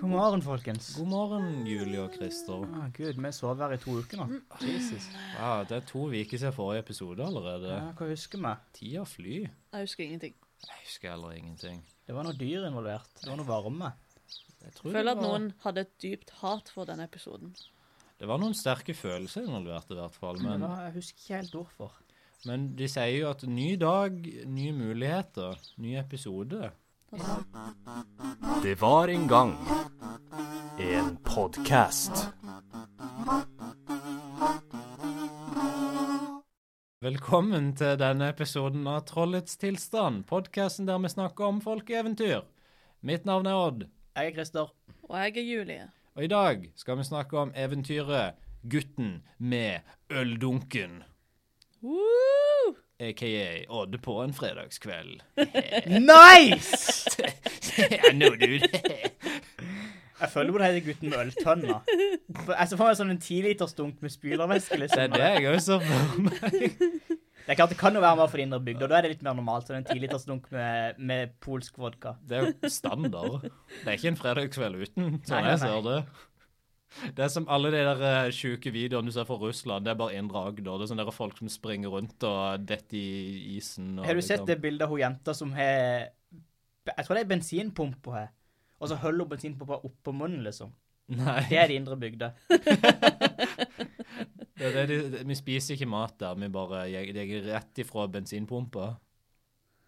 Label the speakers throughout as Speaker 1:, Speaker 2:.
Speaker 1: morgen, folkens.
Speaker 2: God morgen, Julie og Christer.
Speaker 1: Ah, Gud, vi sover her i to uker nå. Jesus.
Speaker 2: Wow, det er to uker siden forrige episode allerede.
Speaker 1: Ja, hva husker vi?
Speaker 2: Tida flyr.
Speaker 3: Jeg husker ingenting.
Speaker 2: Jeg husker heller ingenting.
Speaker 1: Det var noe dyr involvert. Det var noe varme.
Speaker 2: Jeg tror
Speaker 3: Jeg
Speaker 2: det
Speaker 3: føler at
Speaker 2: var-
Speaker 3: noen hadde et dypt hat for denne episoden.
Speaker 2: Det var noen sterke følelser involvert, i hvert fall.
Speaker 1: Men
Speaker 2: Men,
Speaker 1: jeg husker ikke helt hvorfor.
Speaker 2: men de sier jo at ny dag, nye muligheter, ny episode.
Speaker 4: Det var en gang en podkast.
Speaker 2: Velkommen til denne episoden av Trollets tilstand, podkasten der vi snakker om folkeeventyr. Mitt navn er Odd,
Speaker 1: Jeg er Christer.
Speaker 3: Og jeg er Julie.
Speaker 2: og i dag skal vi snakke om eventyret 'Gutten med øldunken'.
Speaker 3: Woo!
Speaker 2: aka Odd på en fredagskveld.
Speaker 1: Nice!
Speaker 2: I know, dude.
Speaker 1: Jeg føler på det heter gutten med øltønna. For Jeg ser for meg sånn en tilitersdunk med spylervæske.
Speaker 2: Det er
Speaker 1: Liksom.
Speaker 2: det jeg også for meg.
Speaker 1: Det er klart det kan jo være mer for de indre bygder. Da er det litt mer normalt. Sånn en tilitersdunk med, med polsk vodka.
Speaker 2: Det er jo standard. Det er ikke en fredagskveld uten, sånn
Speaker 1: Nei,
Speaker 2: jeg
Speaker 1: nei,
Speaker 2: ser det. Det er som alle de der eh, sjuke videoene du ser fra Russland, det er bare indre Agder. Det er sånne der folk som springer rundt og detter i isen. Og
Speaker 1: Har du sett
Speaker 2: liksom-
Speaker 1: det bildet av hun jenta som har Jeg tror det er bensinpumpa her. Og så holder hun bensinpumpa oppå munnen, liksom. Det
Speaker 2: Nei.
Speaker 1: er de indre bygder.
Speaker 2: Det, er det, de- vi spiser ikke mat der, vi bare jeg, jeg er rett ifra bensinpumpa.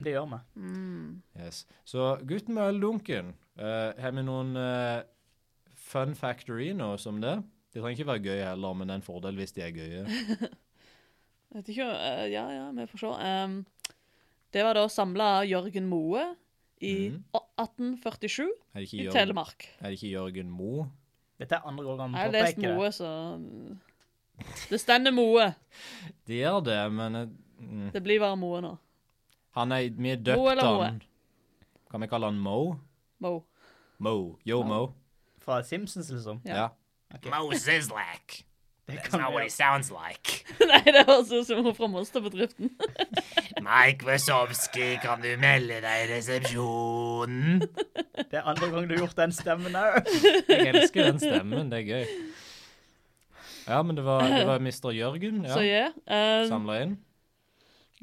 Speaker 1: Det gjør vi.
Speaker 3: Mm.
Speaker 2: Yes. Så gutten med øldunken, eh, har vi noen eh, fun factorinos om det? De trenger ikke være gøye heller, men det er en fordel hvis de er gøye.
Speaker 3: Jeg Vet ikke, eh, ja, ja, vi får se. Em, det var da samla Jørgen Moe i
Speaker 2: Mhm.
Speaker 3: å- 1847
Speaker 2: Er det ikke,
Speaker 3: i
Speaker 2: Jørgen,
Speaker 3: Telemark.
Speaker 2: er det ikke Jørgen Mo?
Speaker 1: Dette er andre
Speaker 2: Mm.
Speaker 1: gangen
Speaker 3: Jeg
Speaker 1: vi
Speaker 3: har lest
Speaker 1: påpeker det.
Speaker 3: Moe, så mm. Det stender Moe.
Speaker 2: Det er det, men eh, mm.
Speaker 3: Det blir bare Moe nå.
Speaker 2: han er, vi er døpt
Speaker 3: Mo eller Moe?
Speaker 2: han. Kan vi kalle han Mo?
Speaker 3: Mo.
Speaker 2: Mo. Yo, Mo.
Speaker 1: Fra Simpsons, liksom.
Speaker 3: Ja.
Speaker 2: Ja.
Speaker 1: Ok.
Speaker 2: Mo Zizlak.
Speaker 1: Det kan vi gjøre.
Speaker 2: sounds like.
Speaker 3: Nei, det høres ut som hun fra Monsterbedriften.
Speaker 2: Mike Wazowski, kan du melde deg i resepsjonen?
Speaker 1: Det er andre gang du har gjort den stemmen òg.
Speaker 2: Jeg elsker den stemmen, det er gøy. Ja, men det var, det var Mr. Jørgen
Speaker 3: Så
Speaker 2: ja,
Speaker 3: ja. eh,
Speaker 2: samla inn.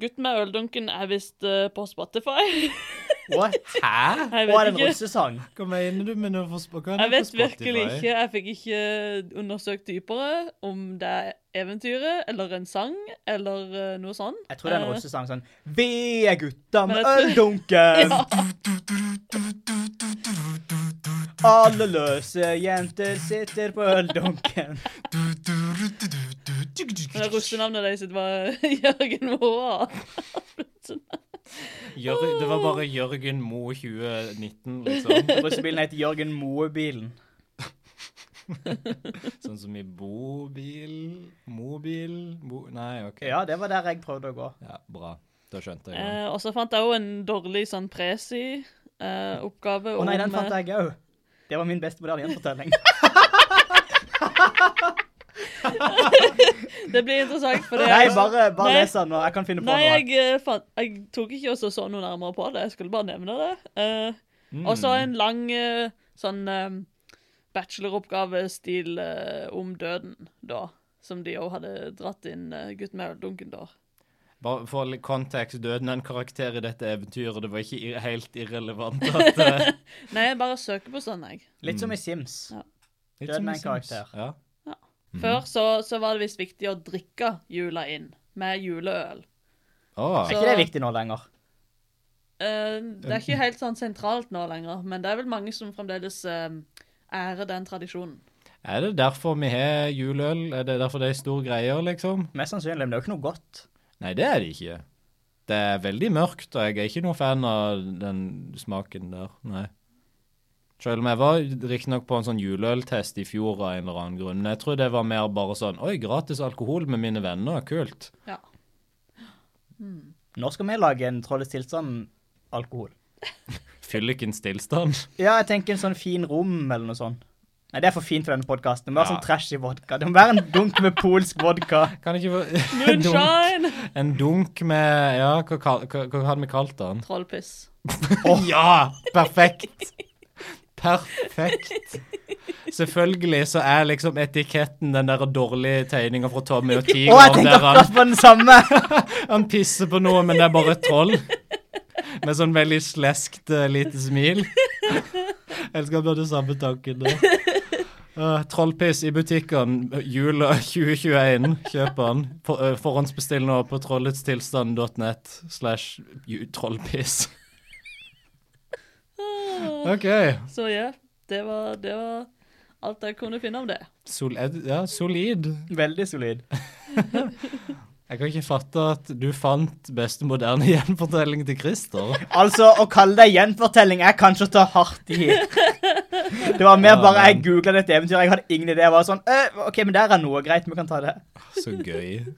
Speaker 3: gutten med øldunken er visst eh, på Spotify.
Speaker 1: What?
Speaker 2: Hæ?
Speaker 3: Jeg
Speaker 1: Og er
Speaker 3: vet
Speaker 1: det en
Speaker 3: ikke.
Speaker 1: russesang?
Speaker 2: Hva mener du med noe for Spotify?
Speaker 3: Jeg vet virkelig ikke. Jeg fikk ikke eh, undersøkt dypere om det er eventyret eller en sang eller eh, noe sånt.
Speaker 1: Jeg tror det er en
Speaker 3: Eh,
Speaker 1: russesang sånn Vi er gutta med
Speaker 3: Men jeg
Speaker 1: øldunken,
Speaker 3: Ja.
Speaker 1: alle løse jenter sitter på øldunken.
Speaker 3: Men det russenavnet deres var Jørgen Moa.
Speaker 2: Jør, det var bare Jørgen Mo 2019, liksom.
Speaker 1: Russebilen heter Jørgen Moe-bilen.
Speaker 2: Sånn som i bobil Mobil bo, Nei, OK.
Speaker 1: Ja, det var der jeg prøvde å gå.
Speaker 2: Ja, bra. Da skjønte jeg det.
Speaker 3: Eh, og så fant jeg òg en dårlig sånn presi-oppgave
Speaker 1: Å nei, den
Speaker 3: om eh,
Speaker 1: fant jeg òg. Det var min beste moderne gjenfortelling.
Speaker 3: eh, Det blir interessant, for det
Speaker 1: Nei, bare, bare
Speaker 3: Nei.
Speaker 1: les den nå. Jeg kan finne på
Speaker 3: Nei,
Speaker 1: noe.
Speaker 3: jeg, eh, fant, jeg tok ikke også så noe nærmere på det. Jeg skulle bare nevne det. Eh, Og så en lang eh, sånn eh, bacheloroppgave-stil eh, om døden, da. Som de òg hadde dratt inn eh, gutten med øldunken, da.
Speaker 2: Bare for litt kontekst, døden er en karakter i dette eventyret. Det var ikke ir helt irrelevant at eh,
Speaker 3: Nei, jeg bare søker på sånn, jeg.
Speaker 1: Litt som i Sims.
Speaker 3: Ja.
Speaker 2: litt
Speaker 1: Døden er
Speaker 2: som i
Speaker 1: en
Speaker 2: Sims.
Speaker 1: karakter.
Speaker 2: Ja.
Speaker 3: Før så, så var det visst viktig å drikke jula inn med juleøl.
Speaker 2: Å,
Speaker 1: Er ikke det viktig nå lenger?
Speaker 3: Eh, det er ikke helt sånn sentralt nå lenger, men det er vel mange som fremdeles eh, ærer den tradisjonen.
Speaker 2: er det derfor vi har juleøl? Er det derfor det er stor greie, liksom?
Speaker 1: Mest sannsynlig, men det er jo ikke noe godt.
Speaker 2: Nei, det er det ikke. Det er veldig mørkt, og jeg er ikke noen fan av den smaken der. Nei. Selv om jeg var riktignok på en sånn juleøltest i fjor av en eller annen grunn. Men jeg tror det var mer bare sånn Oi, gratis alkohol med mine venner. Kult.
Speaker 3: Ja.
Speaker 1: Nå skal vi lage en Trollets tilstand-alkohol.
Speaker 2: Fyllikens tilstand.
Speaker 1: Ja, jeg tenker en sånn fin rom eller noe sånt. Nei, det er for fint for denne podkasten. Det må være
Speaker 2: Ja.
Speaker 1: sånn trashy vodka. Det må være en dunk med polsk vodka.
Speaker 2: Kan ikke få en dunk,
Speaker 3: Moonshine!
Speaker 2: en dunk med Ja, hva, kal- hva, hva hadde vi kalt den?
Speaker 3: Trollpiss.
Speaker 2: Ja! Perfekt! Perfekt. Selvfølgelig så er liksom etiketten den der dårlige tegninga fra Tommy og
Speaker 1: Å, jeg
Speaker 2: Tigeren
Speaker 1: tenkte
Speaker 2: der han,
Speaker 1: akkurat på den samme!
Speaker 2: han pisser på noe, men det er bare et troll. Med sånn veldig sleskt eh, lite smil. Jeg elsker at du hadde samme tanken da. Eh, trollpiss i butikken, jula 2021. Kjøp den. For, eh, forhåndsbestill nå på trolletstilstand.net slash ju- trollpiss. OK.
Speaker 3: Så ja, det var, det var alt jeg kunne finne om det.
Speaker 2: Sol ja, solid.
Speaker 1: Veldig solid.
Speaker 2: Jeg kan ikke fatte at du fant beste moderne gjenfortelling til Christer.
Speaker 1: Altså, å kalle det gjenfortelling er kanskje å ta hardt i. Det var mer bare jeg googla dette eventyret. Jeg hadde ingen idé. Jeg var sånn «Øh, OK, men der er noe greit. Vi kan ta det.
Speaker 2: Så gøy.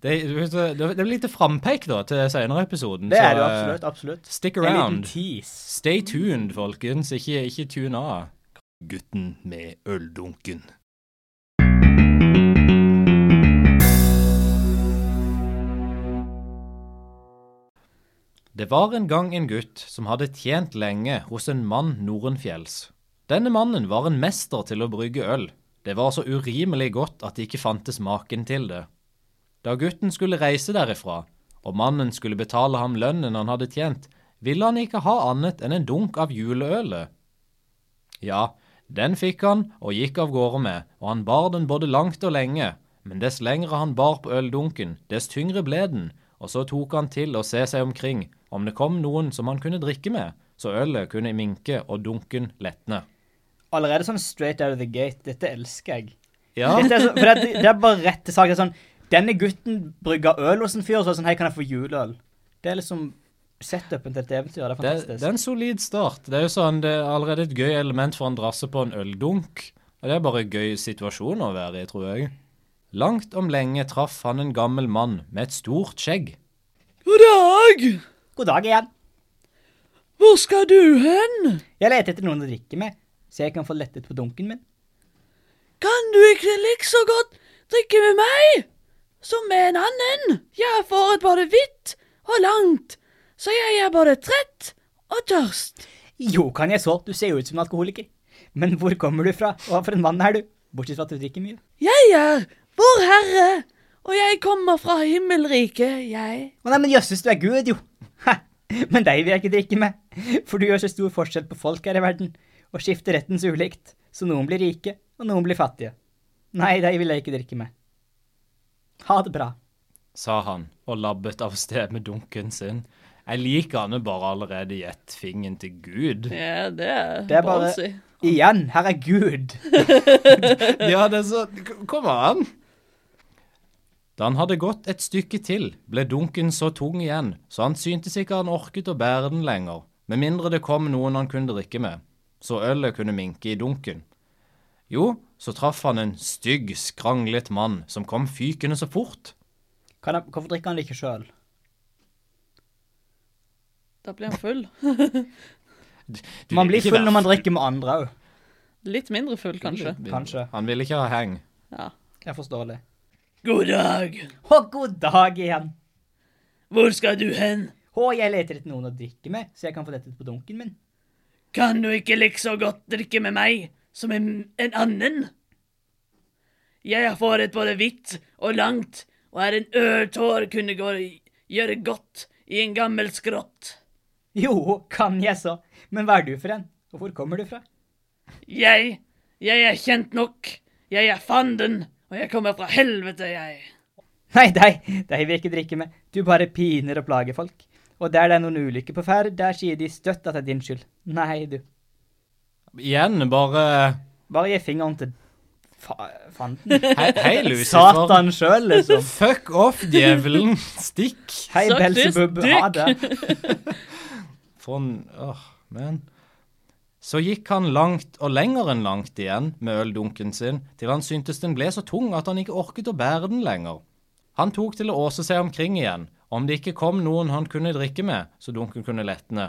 Speaker 2: Det, du vet, det blir lite frampeik da, til senere episoden.
Speaker 1: Det
Speaker 2: så,
Speaker 1: er det jo
Speaker 2: eh,
Speaker 1: absolutt. Absolutt.
Speaker 2: Stick
Speaker 1: En liten
Speaker 2: around.
Speaker 1: tease.
Speaker 2: Stay tuned, folkens. Ikke, ikke tune av. Gutten med øldunken. Det var en gang en gutt som hadde tjent lenge hos en mann nordenfjells. Denne mannen var en mester til å brygge øl. Det var så urimelig godt at det ikke fantes maken til det. Da gutten skulle reise derifra, og mannen skulle betale ham lønnen han hadde tjent, ville han ikke ha annet enn en dunk av juleølet. Ja, den fikk han og gikk av gårde med, og han bar den både langt og lenge, men dess lengre han bar på øldunken, dess tyngre ble den, og så tok han til å se seg omkring, om det kom noen som han kunne drikke med, så ølet kunne minke og dunken letne.
Speaker 1: Allerede sånn straight out of the gate. Dette elsker jeg.
Speaker 2: Ja,
Speaker 1: Dette er så, for det, det er bare rett til sak. Det er sånn Denne gutten brygga øl hos en fyr, og så er det sånn Hei, kan jeg få juleøl? Det er liksom setupen til dette eventyret. Det
Speaker 2: Det,
Speaker 1: er
Speaker 2: det er
Speaker 1: fantastisk.
Speaker 2: en solid start. Det er jo sånn, det er allerede et gøy element for en drasse på en øldunk. Og det er bare en gøy situasjon å være i, tror jeg. Langt om lenge traff han en gammel mann med et stort skjegg.
Speaker 3: God dag!
Speaker 1: God dag igjen.
Speaker 3: Hvor skal du hen?
Speaker 1: Jeg leter etter noen å drikke med, så jeg kan få lettet på dunken min.
Speaker 3: Kan du ikke likså godt drikke med meg som med en annen? Jeg får et både hvitt og langt, så jeg er både trett og tørst.
Speaker 1: Jo, kan jeg så, du ser jo ut som en alkoholiker. Men hvor kommer du fra, og hva for en mann er du? Bortsett fra at du drikker mye.
Speaker 3: Jeg er vår Herre, og jeg kommer fra himmelriket, jeg.
Speaker 1: Å nei, men jøsses, du er Gud, jo. Ha, men deg vil jeg ikke drikke med, for du gjør så stor forskjell på folk her i verden, og skifter rettens ulikt, så noen blir rike, og noen blir fattige. Nei, deg vil jeg ikke drikke med. Ha det bra.
Speaker 2: sa han, og labbet av sted med dunken sin. Jeg liker han jo bare allerede i ett fingeren til Gud.
Speaker 3: Ja, det er,
Speaker 1: Det er bare-
Speaker 3: ballsy.
Speaker 1: Igjen, her er Gud.
Speaker 2: Ja, det er så k- Kom an! Da han hadde gått et stykke til, ble dunken så tung igjen, så han syntes ikke han orket å bære den lenger, med mindre det kom noen han kunne drikke med, så ølet kunne minke i dunken. Jo, så traff han en stygg, skranglet mann som kom fykende så fort.
Speaker 1: Kan han, hvorfor drikker han det ikke sjøl?
Speaker 3: Da blir han full.
Speaker 2: Du
Speaker 1: Man
Speaker 2: vil
Speaker 1: blir
Speaker 2: ikke
Speaker 1: full
Speaker 2: være
Speaker 1: når man drikker med andre òg.
Speaker 3: Litt mindre full, kanskje.
Speaker 2: full.
Speaker 1: Kanskje.
Speaker 2: Han ville ikke ha heng.
Speaker 3: Ja.
Speaker 1: Jeg forstår det.
Speaker 3: God dag.
Speaker 1: Å, god dag igjen.
Speaker 3: Hvor skal du hen?
Speaker 1: Å, jeg leter etter noen å drikke med, så jeg kan få dette på dunken min.
Speaker 3: Kan du ikke likså godt drikke med meg som en, en annen? Jeg får et både hvitt og langt, og er en ørtår kunne gå, gjøre godt i en gammel skrott.
Speaker 1: Jo, kan jeg så. Men hva er du for en? Og hvor kommer du fra?
Speaker 3: Jeg, jeg er kjent nok. Jeg er fanden, og jeg kommer fra helvete, jeg.
Speaker 1: Nei, deg, deg vil jeg ikke drikke med. Du bare piner og plager folk. Og der det er noen ulykker på ferd, der sier de støtt at det er din skyld. Nei, du.
Speaker 2: Igjen, bare
Speaker 1: Bare gi fingeren til fa fanden.
Speaker 2: Hei, hei Lucifer.
Speaker 1: Satan sjøl, liksom.
Speaker 2: Fuck off, djevelen. Stikk.
Speaker 1: Hei,
Speaker 3: Suck this
Speaker 1: Belzebub. Ha det.
Speaker 2: For en åh, men. Så gikk han langt og lenger enn langt igjen med øldunken sin, til han syntes den ble så tung at han ikke orket å bære den lenger. Han tok til å åse seg omkring igjen, om det ikke kom noen han kunne drikke med, så dunken kunne letne.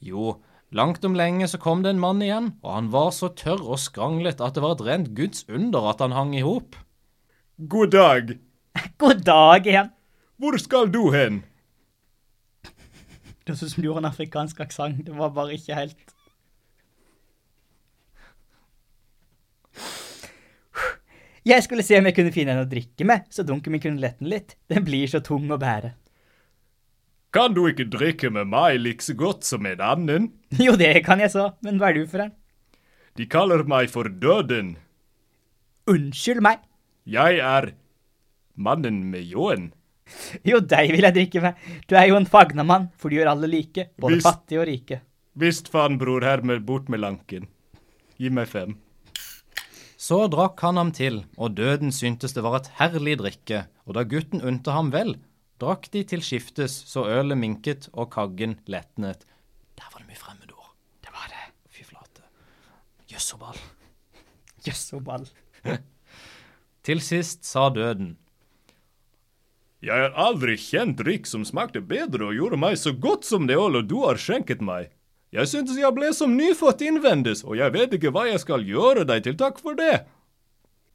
Speaker 2: Jo, langt om lenge så kom det en mann igjen, og han var så tørr og skranglet at det var et rent guds under at han hang i hop.
Speaker 5: God dag.
Speaker 1: God dag igjen.
Speaker 5: Hvor skal du hen?
Speaker 1: sånn Det høres ut som du gjorde en afrikansk aksent. Det var bare ikke helt Jeg skulle se om jeg kunne finne en å drikke med, så dunken min kunne lette den litt. Den blir så tung å bære.
Speaker 6: Kan du ikke drikke med meg like så godt som en annen?
Speaker 1: Jo, det kan jeg så, men hva er du for en?
Speaker 6: De kaller meg for Døden.
Speaker 1: Unnskyld meg.
Speaker 6: Jeg er mannen med ljåen.
Speaker 1: Jo, deg vil jeg drikke med. Du er jo en fagnamann, for du gjør alle like, både
Speaker 6: Hvis-
Speaker 1: fattige og rike.
Speaker 6: Visst faen, bror, her med bort med lanken. Gi meg fem.
Speaker 2: Så drakk han ham til, og døden syntes det var et herlig drikke, og da gutten unte ham vel, drakk de til skiftes, så ølet minket og kaggen letnet. Der var det mye fremmedord.
Speaker 1: Det var det.
Speaker 2: Fy flate. Jøss og ball.
Speaker 1: Jøss og ball.
Speaker 2: Til sist sa døden.
Speaker 6: Jeg har aldri kjent drikk som smakte bedre og gjorde meg så godt som det ølet du har skjenket meg. Jeg syntes jeg ble som nyfødt innvendes, og jeg vet ikke hva jeg skal gjøre deg til takk for det.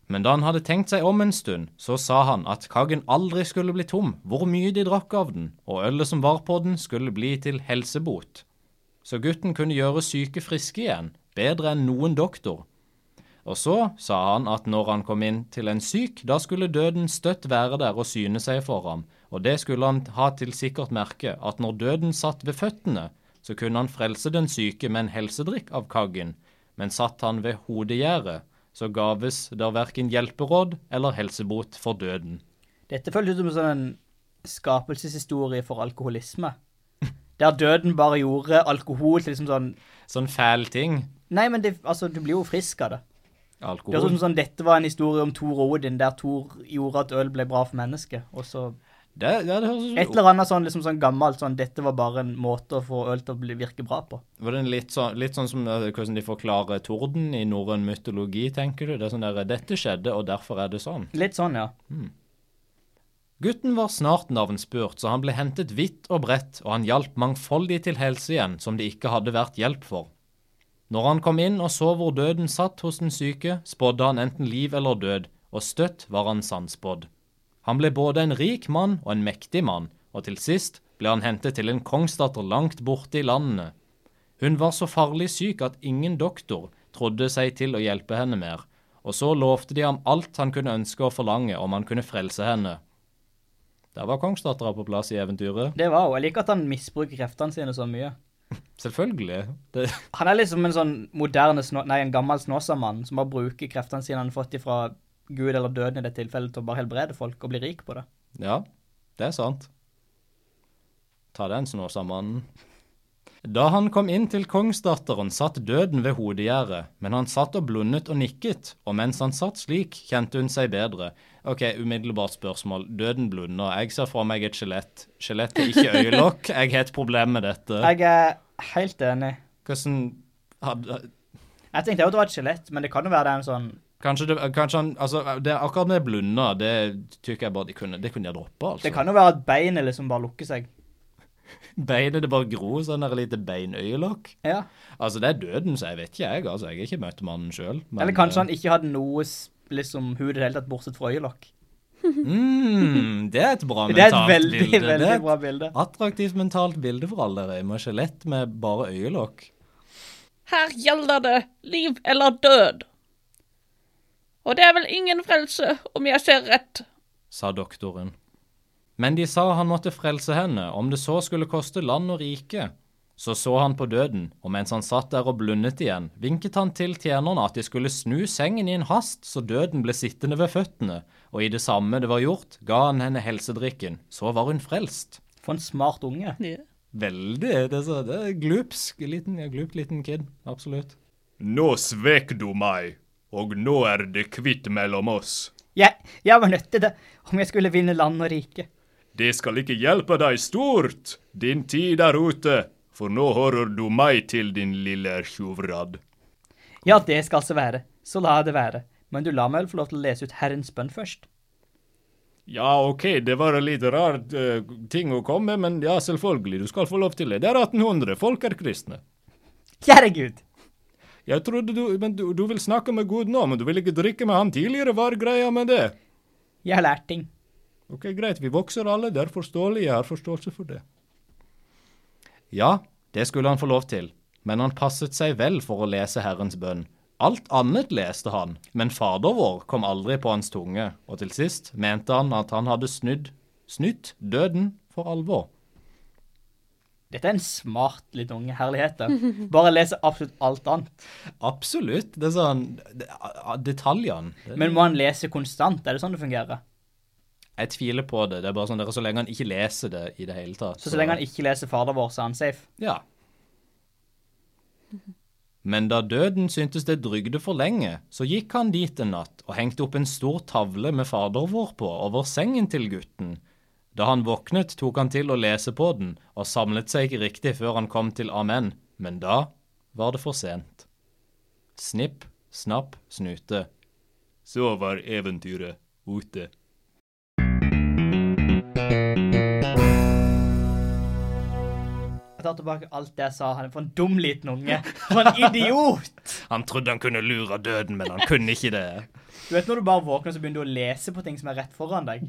Speaker 2: Men da han hadde tenkt seg om en stund, så sa han at kaggen aldri skulle bli tom, hvor mye de drakk av den, og ølet som var på den skulle bli til helsebot. Så gutten kunne gjøre syke friske igjen, bedre enn noen doktor. Og så sa han at når han kom inn til en syk, da skulle døden støtt være der og syne seg for ham, og det skulle han ha til sikkert merke, at når døden satt ved føttene, så kunne han frelse den syke med en helsedrikk av kaggen, men satt han ved hodegjerdet, så gaves der hverken hjelperåd eller helsebot for døden.
Speaker 1: Dette føles ut som en sånn skapelseshistorie for alkoholisme. Der døden bare gjorde alkohol til liksom sånn
Speaker 2: Sånn fæl ting.
Speaker 1: Nei, men det, altså, du blir jo frisk av det. Det er
Speaker 2: Alkohol.
Speaker 1: sånn, sånn, Dette var en historie om Thor og Odin, der Thor gjorde at øl ble bra for mennesket. Og så
Speaker 2: Det, ja, det høres
Speaker 1: et
Speaker 2: ut
Speaker 1: eller annet sånn, liksom sånn gammelt sånn Dette var bare en måte å få øl til å bli, virke bra på.
Speaker 2: Var det en litt, sånn, litt sånn som eh, hvordan de forklarer torden i norrøn mytologi, tenker du? Det er sånn der, Dette skjedde, og derfor er det sånn.
Speaker 1: Litt sånn, ja.
Speaker 2: Gutten var snart navnspurt, så han ble hentet vidt og bredt, og han hjalp mangfoldig til helse igjen, som det ikke hadde vært hjelp for. Når han kom inn og så hvor døden satt hos den syke, spådde han enten liv eller død, og støtt var han sannspådd. Han ble både en rik mann og en mektig mann, og til sist ble han hentet til en kongsdatter langt borte i landene. Hun var så farlig syk at ingen doktor trodde seg til å hjelpe henne mer, og så lovte de ham alt han kunne ønske og forlange om han kunne frelse henne. Der var kongsdattera på plass i eventyret.
Speaker 1: Det var jo. Jeg liker at han misbruker kreftene sine så mye.
Speaker 2: Selvfølgelig. Det,
Speaker 1: Han er liksom en sånn moderne, snå- nei, en gammel snåsamann som bare bruker kreftene sine han har fått ifra Gud eller døden i det tilfellet, til å bare helbrede folk og bli rik på det.
Speaker 2: ja, det er sant. Ta den snåsamannen. Da han kom inn til kongsdatteren, satt døden ved hodegjerdet, men han satt og blundet og nikket, og mens han satt slik, kjente hun seg bedre. Ok, umiddelbart spørsmål. Døden blunder. Jeg ser for meg et skjelett. Skjelett er ikke øyelokk. Jeg har et problem med dette.
Speaker 1: Jeg er helt enig.
Speaker 2: Hvordan hadde
Speaker 1: Jeg tenkte jo at det var et skjelett, men det kan jo være det er en sånn
Speaker 2: Kanskje, det, kanskje han Altså, det er akkurat med blunda, det tykker jeg bare de kunne, det kunne de droppe, altså.
Speaker 1: Det kan jo være at beinet liksom bare lukker seg.
Speaker 2: Beinet det bare gror sånn der lite beinøyelokk.
Speaker 1: Ja.
Speaker 2: Altså, det er døden, så jeg vet ikke, jeg. Altså, jeg har ikke møtt mannen sjøl.
Speaker 1: Eller kanskje
Speaker 2: eh,
Speaker 1: han ikke hadde noe s- liksom hud i det hele tatt, bortsett fra øyelokk.
Speaker 2: mm, Det er et bra
Speaker 1: Det er et
Speaker 2: mentalt
Speaker 1: veldig,
Speaker 2: bilde. Det er
Speaker 1: veldig
Speaker 2: et
Speaker 1: bra bilde.
Speaker 2: Attraktivt mentalt bilde for alle dere. Med skjelett med bare øyelokk.
Speaker 3: Her gjelder det liv eller død. Og det er vel ingen frelse om jeg ser rett.
Speaker 2: sa doktoren. Men de sa han måtte frelse henne, om det så skulle koste land og rike. Så så han på døden, og mens han satt der og blundet igjen, vinket han til tjenerne at de skulle snu sengen i en hast, så døden ble sittende ved føttene, og i det samme det var gjort, ga han henne helsedrikken, så var hun frelst.
Speaker 1: For en smart unge.
Speaker 2: Veldig, det er, så, det er glupsk, liten, ja, glup liten kid, absolutt.
Speaker 6: Nå svek du meg, og nå er det kvitt mellom oss.
Speaker 1: Jeg, jeg var nødt til det om jeg skulle vinne land og rike.
Speaker 6: Det skal ikke hjelpe deg stort. Din tid er ute, for nå hører du meg til, din lille tjuvrad.
Speaker 1: Ja, det skal altså være. Så la det være. Men du la meg vel få lov til å lese ut Herrens bønn først?
Speaker 6: Ja, OK, det var en litt rar eh, ting å komme, men ja, selvfølgelig, du skal få lov til det. Det er 1800, folk er kristne.
Speaker 1: Kjære Gud!
Speaker 6: Jeg trodde du Men du, du vil snakke med Gud nå, men du vil ikke drikke med han tidligere, hva er greia med det?
Speaker 1: Jeg har lært ting.
Speaker 6: Ok, greit, vi vokser alle, det er forståelig, jeg har forståelse for det.
Speaker 2: Ja, det skulle han få lov til, men han passet seg vel for å lese Herrens bønn, Alt annet leste han, men fader vår kom aldri på hans tunge, og til sist mente han at han hadde snudd, snytt døden for alvor.
Speaker 1: Dette er en smart liten unge. Herlighet. da. Bare leser absolutt alt annet.
Speaker 2: Absolutt. Det er sånn det- a- Detaljene. det-
Speaker 1: Men må han lese konstant? Er det sånn det fungerer?
Speaker 2: Jeg tviler på det. Det er bare sånn, dere, Så lenge han ikke leser det i det hele tatt.
Speaker 1: Så så lenge han ikke leser Fader vår, så er han safe?
Speaker 2: Ja. Men da døden syntes det drygde for lenge, så gikk han dit en natt og hengte opp en stor tavle med Fader vår på over sengen til gutten. Da han våknet, tok han til å lese på den, og samlet seg ikke riktig før han kom til Amen, men da var det for sent. Snipp, snapp, snute.
Speaker 6: Så var eventyret ute.
Speaker 1: Jeg tar tilbake alt det jeg sa. Han er for en dum liten unge. For en idiot!
Speaker 2: Han trodde han kunne lure døden, men han kunne ikke det.
Speaker 1: Du vet når du bare våkner, så begynner du å lese på ting som er rett foran deg.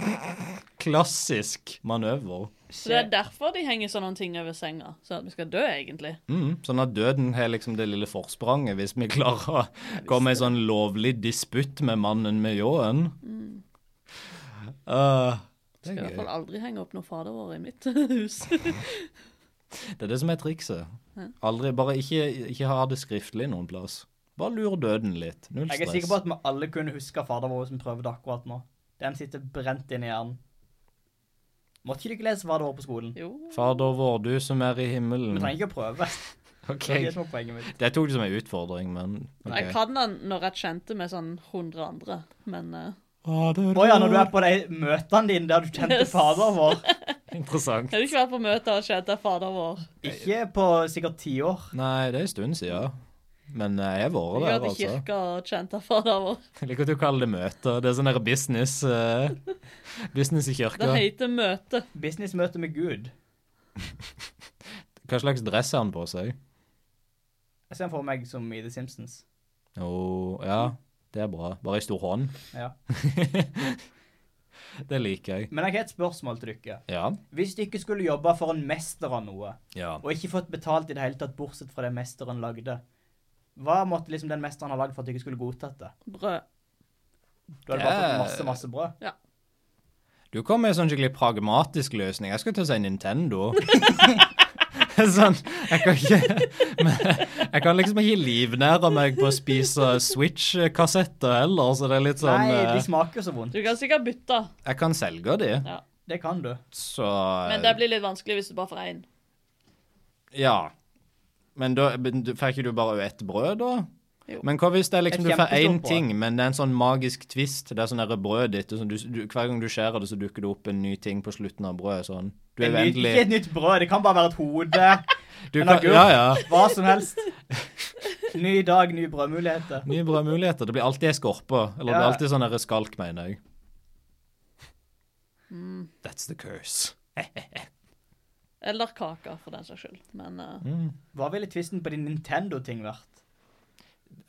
Speaker 2: Klassisk manøver.
Speaker 3: Så det er derfor de henger sånne ting over senga. Sånn at vi skal dø, egentlig.
Speaker 2: Mm, sånn at døden har liksom det lille forspranget, hvis vi klarer å komme i sånn lovlig disputt med mannen med ljåen.
Speaker 1: Mm.
Speaker 2: Eh, det
Speaker 3: Skal i
Speaker 2: er
Speaker 3: hvert
Speaker 2: gøy.
Speaker 3: fall aldri henge opp noe fader vår i mitt hus.
Speaker 2: Det er det som er trikset. Aldri, bare ikke, ikke ha det skriftlig noen plass. Bare lur døden litt. Null
Speaker 1: Jeg er
Speaker 2: stress.
Speaker 1: sikker på at vi alle kunne huske Fader vår som prøvde akkurat nå. Den sitter brent inn i hjernen. Måtte ikke du ikke lese Fader vår på skolen?
Speaker 3: Jo.
Speaker 2: Fader vår, du som er i
Speaker 1: Vi
Speaker 2: himmelen.
Speaker 1: trenger ikke å prøve.
Speaker 2: Ok,
Speaker 1: Det er det som er poenget mitt.
Speaker 2: Det tok du som en utfordring, men ok.
Speaker 3: Jeg kan den når jeg kjente med sånn 100 andre, men eh,
Speaker 1: Å ja, når du er på de møtene dine der du kjente
Speaker 3: Yes.
Speaker 1: Fader vår.
Speaker 2: Interessant.
Speaker 3: Har du ikke vært på møter og kjent deg fader vår?
Speaker 1: Ikke på sikkert ti år.
Speaker 2: Nei, det er en stund siden. Men eh, jeg har
Speaker 3: Du
Speaker 2: vært
Speaker 3: har
Speaker 2: der,
Speaker 3: vært i
Speaker 2: altså.
Speaker 3: kirka og kjent deg fader vår.
Speaker 2: Jeg liker at du kaller det møter. Det er sånn der business eh, Business i kirka.
Speaker 3: Det heter møte.
Speaker 1: Businessmøte med Gud.
Speaker 2: Hva slags dress har han på seg?
Speaker 1: Jeg ser han for meg som i The Simpsons.
Speaker 2: Jo, ja. Det er bra. Bare i stor hånd.
Speaker 1: Ja.
Speaker 2: Det liker jeg.
Speaker 1: Men jeg har et spørsmål til dere.
Speaker 2: Ja.
Speaker 1: Hvis dere skulle jobbe for en mester av noe,
Speaker 2: ja.
Speaker 1: og ikke fått betalt i det hele tatt, bortsett fra det mesteren lagde, hva måtte liksom den mesteren ha lagd for at dere skulle godtatt det?
Speaker 3: Brød.
Speaker 1: Du hadde bare
Speaker 2: Det-
Speaker 1: fått masse, masse brød.
Speaker 2: Du kom med en sånn skikkelig pragmatisk løsning. Jeg skulle til å si Nintendo. sånn, jeg kan ikke men Jeg kan liksom ikke livnære meg på å spise Switch-kassetter heller, så det er litt sånn
Speaker 1: Nei, de
Speaker 3: liksom-
Speaker 2: eh,
Speaker 1: smaker jo så vondt.
Speaker 3: Du kan sikkert bytte,
Speaker 2: Jeg kan selge de,
Speaker 3: Ja.
Speaker 1: Det kan du.
Speaker 2: så
Speaker 3: men det blir litt vanskelig hvis du bare får én.
Speaker 2: Ja. Men da men du- får ikke du bare ett brød, da?
Speaker 3: Jo.
Speaker 2: Men hva hvis det er liksom,
Speaker 1: Et
Speaker 2: du får
Speaker 1: kjempestort
Speaker 2: én
Speaker 1: brød.
Speaker 2: ting, men det er en sånn magisk twist? Det er sånn der brød ditt, og sånn, du, du, Hver gang du skjærer det, så dukker det opp en ny ting på slutten av brødet. Sånn. Du
Speaker 1: En
Speaker 2: er
Speaker 1: ny, ikke
Speaker 2: vennlig.
Speaker 1: et nytt brød, det kan bare være et hode,
Speaker 2: Du
Speaker 1: en
Speaker 2: kan,
Speaker 1: agurk.
Speaker 2: ja, ja.
Speaker 1: hva som helst. Ny dag, nye brødmuligheter.
Speaker 2: Nye brødmuligheter. Det blir alltid ei skorpe. Eller det
Speaker 1: Ja.
Speaker 2: blir alltid sånn der skalk, mener jeg.
Speaker 1: Mm.
Speaker 2: That's the curse.
Speaker 3: Eller kake, for den saks skyld. Men eh,
Speaker 2: Mm.
Speaker 1: Hva ville tvisten på din Nintendo-ting vært?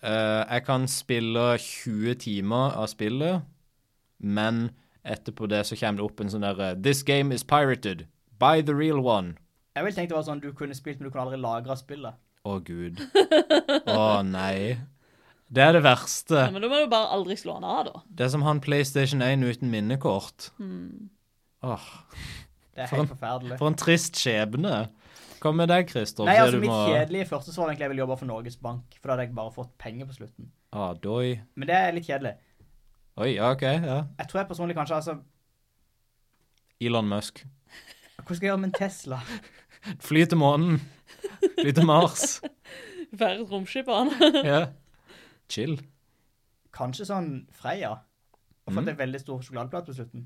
Speaker 2: Eh, jeg kan spille 20 timer av spillet, men etterpå det så kommer det opp en sånn derre This game is pirated. Buy the real one.
Speaker 1: Jeg ville tenkt det var sånn du kunne spilt, men du kunne aldri lagra spillet.
Speaker 2: Å, gud. Å, nei. Det er det verste.
Speaker 3: ja, men da må du bare aldri slå den av, da.
Speaker 2: Det er som han PlayStation 1 uten minnekort.
Speaker 3: Mm.
Speaker 2: Åh,
Speaker 1: Det er helt forferdelig.
Speaker 2: for en trist skjebne. Hva med deg, Christer?
Speaker 1: Nei,
Speaker 2: Sier
Speaker 1: altså
Speaker 2: du
Speaker 1: Mitt
Speaker 2: må-
Speaker 1: kjedelige første svar var egentlig jeg ville jobbe for Norges Bank, for da hadde jeg bare fått penger på slutten.
Speaker 2: Ah, doi.
Speaker 1: Men det er litt kjedelig.
Speaker 2: Oi, ja, OK. ja.
Speaker 1: Jeg tror jeg personlig kanskje altså,
Speaker 2: Elon Musk.
Speaker 1: Hva skal jeg gjøre med en Tesla?
Speaker 2: Fly til månen. Fly til Mars.
Speaker 3: Færre romskip av den.
Speaker 2: Ja. Chill.
Speaker 1: Kanskje sånn Freia. Og
Speaker 3: Mm.
Speaker 1: fått en veldig stor sjokoladeplate på slutten.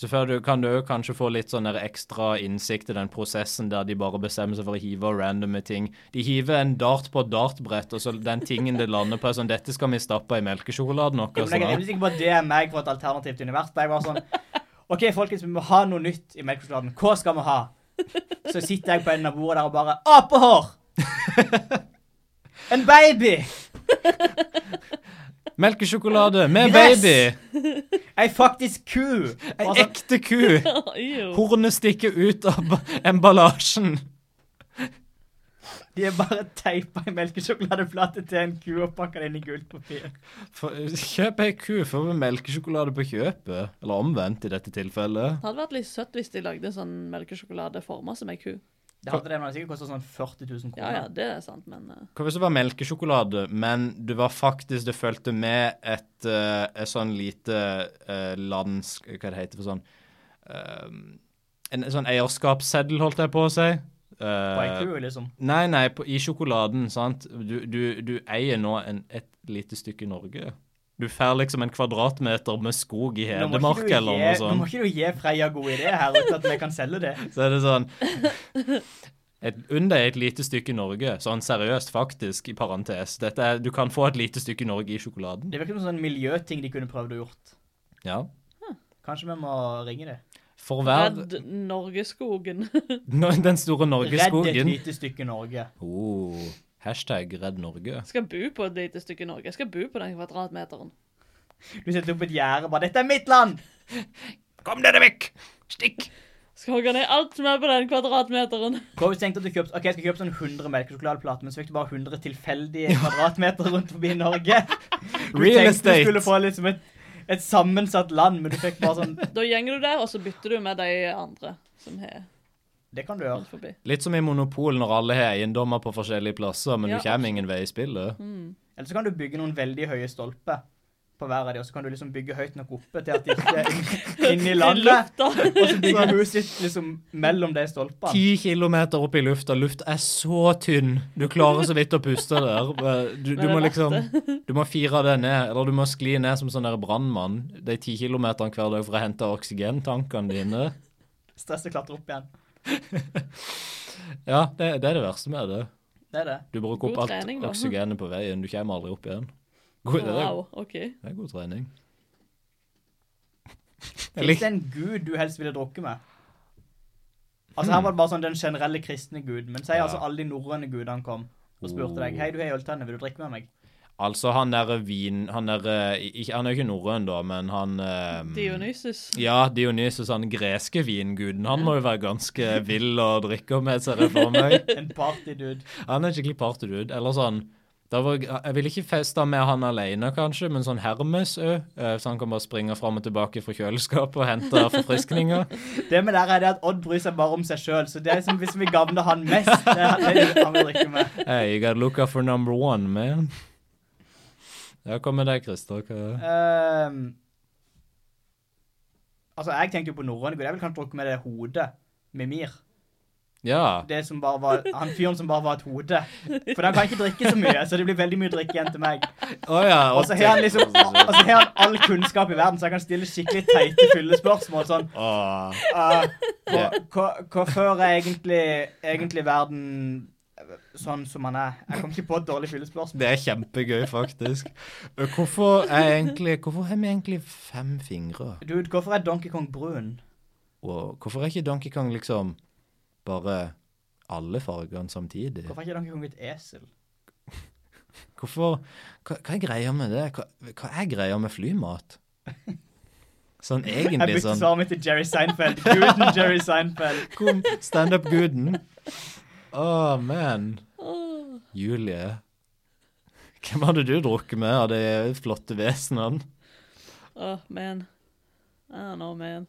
Speaker 2: Så før du, kan du jo kanskje få litt sånn der ekstra innsikt i den prosessen der de bare bestemmer seg for å hive randomme ting. De hiver en dart på et dartbrett, og så den tingen det lander på, er sånn Dette skal vi stappe i melkesjokoladen vår.
Speaker 1: Jo, men jeg er
Speaker 2: Sånn.
Speaker 1: rimelig sikker på at det er meg fra et alternativt univers. Der jeg var sånn OK, folkens, vi må ha noe nytt i melkesjokoladen. Hva skal vi ha? Så sitter jeg på enden av bordet der og bare Apehår! En baby!
Speaker 2: Melkesjokolade med
Speaker 1: Gress!
Speaker 2: baby!
Speaker 1: Ei faktisk ku! Og
Speaker 2: Ei
Speaker 1: sånn,
Speaker 2: ekte ku!
Speaker 3: Jo.
Speaker 2: Hornet stikker ut av ba- emballasjen.
Speaker 1: De har bare teipa en melkesjokoladeplate til en ku og pakka den i gullpapir.
Speaker 2: For- Kjøp ei ku, få med melkesjokolade på kjøpet. Eller omvendt, i dette tilfellet.
Speaker 3: Det hadde vært litt søtt hvis de lagde sånn melkesjokolade forma som ei ku.
Speaker 1: Det hadde det, men det hadde sikkert kosta sånn 40 000
Speaker 3: Ja, ja,
Speaker 1: kroner.
Speaker 3: det er sant, men eh,
Speaker 2: Hva hvis det var melkesjokolade, men det var faktisk Det fulgte med et, eh, et sånn lite eh, lands... Hva det heter for sånn eh, En sånn eierskapsseddel, holdt jeg på å si.
Speaker 1: På en
Speaker 2: Eh,
Speaker 1: ku, liksom.
Speaker 2: Nei, nei, på, i sjokoladen, sant. Du, du, du eier nå en, et lite stykke Norge. Du får liksom en kvadratmeter med skog i
Speaker 1: Nå må
Speaker 2: Hedmark
Speaker 1: ikke du gi-
Speaker 2: eller noe
Speaker 1: nå må
Speaker 2: sånt.
Speaker 1: ikke du gi Freia gode ideer her uten at vi kan selge det.
Speaker 2: Så er det sånn et, Under er et lite stykke Norge. Sånn seriøst, faktisk, i parentes. Dette er, du kan få et lite stykke Norge i sjokoladen.
Speaker 1: Det virker som en sånn miljøting de kunne prøvd å gjort.
Speaker 2: Ja.
Speaker 1: Kanskje vi må ringe det.
Speaker 2: For hver
Speaker 3: Redd Norgeskogen.
Speaker 2: Nå- Den store
Speaker 1: Redd et
Speaker 2: Norgeskogen.
Speaker 1: lite stykke Norge.
Speaker 2: Oh, hashtag Redd Norge.
Speaker 3: skal bo på et lite stykke Norge. Jeg skal bo på den kvadratmeteren.
Speaker 1: Du setter opp et gjerde og bare 'Dette er mitt land!'
Speaker 2: Kom dere vekk! Stikk!
Speaker 3: Skal hogge ned alt som er på den kvadratmeteren.
Speaker 1: Hvor tenkte at du kjøpte Ok, jeg skal kjøpe sånn 100 melkesjokoladeplater, men så fikk du bare 100 tilfeldige kvadratmeter rundt forbi Norge. Du
Speaker 2: Real
Speaker 1: tenkte du skulle
Speaker 2: estate.
Speaker 1: få liksom et, et sammensatt land, men du fikk bare sånn
Speaker 3: Da gjenger du der, og så bytter du med de andre som har
Speaker 1: Det kan du gjøre.
Speaker 3: rundt forbi.
Speaker 2: Litt som i Monopol, når alle har eiendommer på forskjellige plasser, men
Speaker 3: Ja, Mm.
Speaker 2: du kommer ingen vei i spillet.
Speaker 1: Eller så kan du bygge noen veldig høye stolper på hver av de, og så kan du liksom bygge høyt nok oppe til at de ikke er inn- inn i landet.
Speaker 3: Lufta.
Speaker 1: Og så bygger huset ditt liksom mellom de stolpene.
Speaker 2: Ti kilometer opp i lufta, luft er så tynn. Du klarer så vidt å puste der. Du, du
Speaker 3: det
Speaker 2: må
Speaker 3: er
Speaker 2: liksom Du må fire det ned, eller du må skli ned som sånn der brannmann de ti kilometerne hver dag for å hente oksygentankene dine.
Speaker 1: Stresset klatrer opp igjen.
Speaker 2: Ja, det, det er det verste med det.
Speaker 1: Det er det.
Speaker 2: Du bruker opp
Speaker 3: God
Speaker 2: alt
Speaker 3: trening, da.
Speaker 2: oksygenet på veien. Du kommer aldri opp igjen. God, det, er,
Speaker 3: Wow, OK.
Speaker 2: det er god trening. Jeg
Speaker 1: Fins
Speaker 2: lik,
Speaker 1: det en gud du helst ville drukket med? Altså Her var det bare sånn den generelle kristne gud, men si
Speaker 2: Ja. Oh.
Speaker 1: altså alle de norrøne gudene kom og spurte deg Hei, du har ei øltenne, vil du drikke med meg?
Speaker 2: altså, han derre vin... Han derre ikke- Han er jo ikke norrøn, da, men han eh,
Speaker 3: Dionysus.
Speaker 2: Ja, Dionysus, han greske vinguden, han må jo være ganske vill å drikke med, ser jeg for meg.
Speaker 1: En partydude.
Speaker 2: Han er en skikkelig partydude. Eller sånn da var, Jeg ville ikke festa med han alene, kanskje, men sånn Hermes òg. Så han kan bare springe fram og tilbake fra kjøleskapet og hente forfriskninger.
Speaker 1: Det med det her er det at Odd bryr seg bare om seg sjøl, så det er som hvis vi gavner han mest, det er det han vil drikke med.
Speaker 2: Hey, you gotta look out for number one, man. Ja, hva med deg, Christer? Hva-
Speaker 1: Ehm, altså, jeg tenkte jo på norrøne gud. Jeg ville kanskje drukke med det hodet. Mimir.
Speaker 2: Ja.
Speaker 1: Det som bare var, han fyren som bare var et hode. For han kan ikke drikke så mye, så det blir veldig mye drikke igjen til meg.
Speaker 2: Å ja.
Speaker 1: Og så har han liksom Og så har han all kunnskap i verden, så jeg kan stille skikkelig teite fyllespørsmål. Sånn
Speaker 2: Åh.
Speaker 1: ah, hva- hva- Hvorfor er egentlig, egentlig verden sånn som han er? Jeg kom ikke på et dårlig fyllespørsmål.
Speaker 2: Det er kjempegøy, faktisk. Hvorfor, er egentlig, hvorfor har vi egentlig fem fingre?
Speaker 1: Dude, hvorfor er Donkey Kong brun?
Speaker 2: Og hvorfor er ikke Donkey Kong liksom bare alle fargene samtidig?
Speaker 1: Hvorfor er ikke Donkey Kong et esel?
Speaker 2: Hvorfor, hva, hva er greia med det? Hva, hva er greia med flymat? Sånn
Speaker 1: Jeg
Speaker 2: egentlig
Speaker 1: bytter
Speaker 2: sånn
Speaker 1: svaret mitt til Jerry Seinfeld. Guden Jerry Seinfeld.
Speaker 2: Kom, standup-guden. Åh, man.
Speaker 3: Åh.
Speaker 2: Julie. Hvem hadde du drukket med av de flotte vesenene?
Speaker 3: Åh, man. I don't know, man.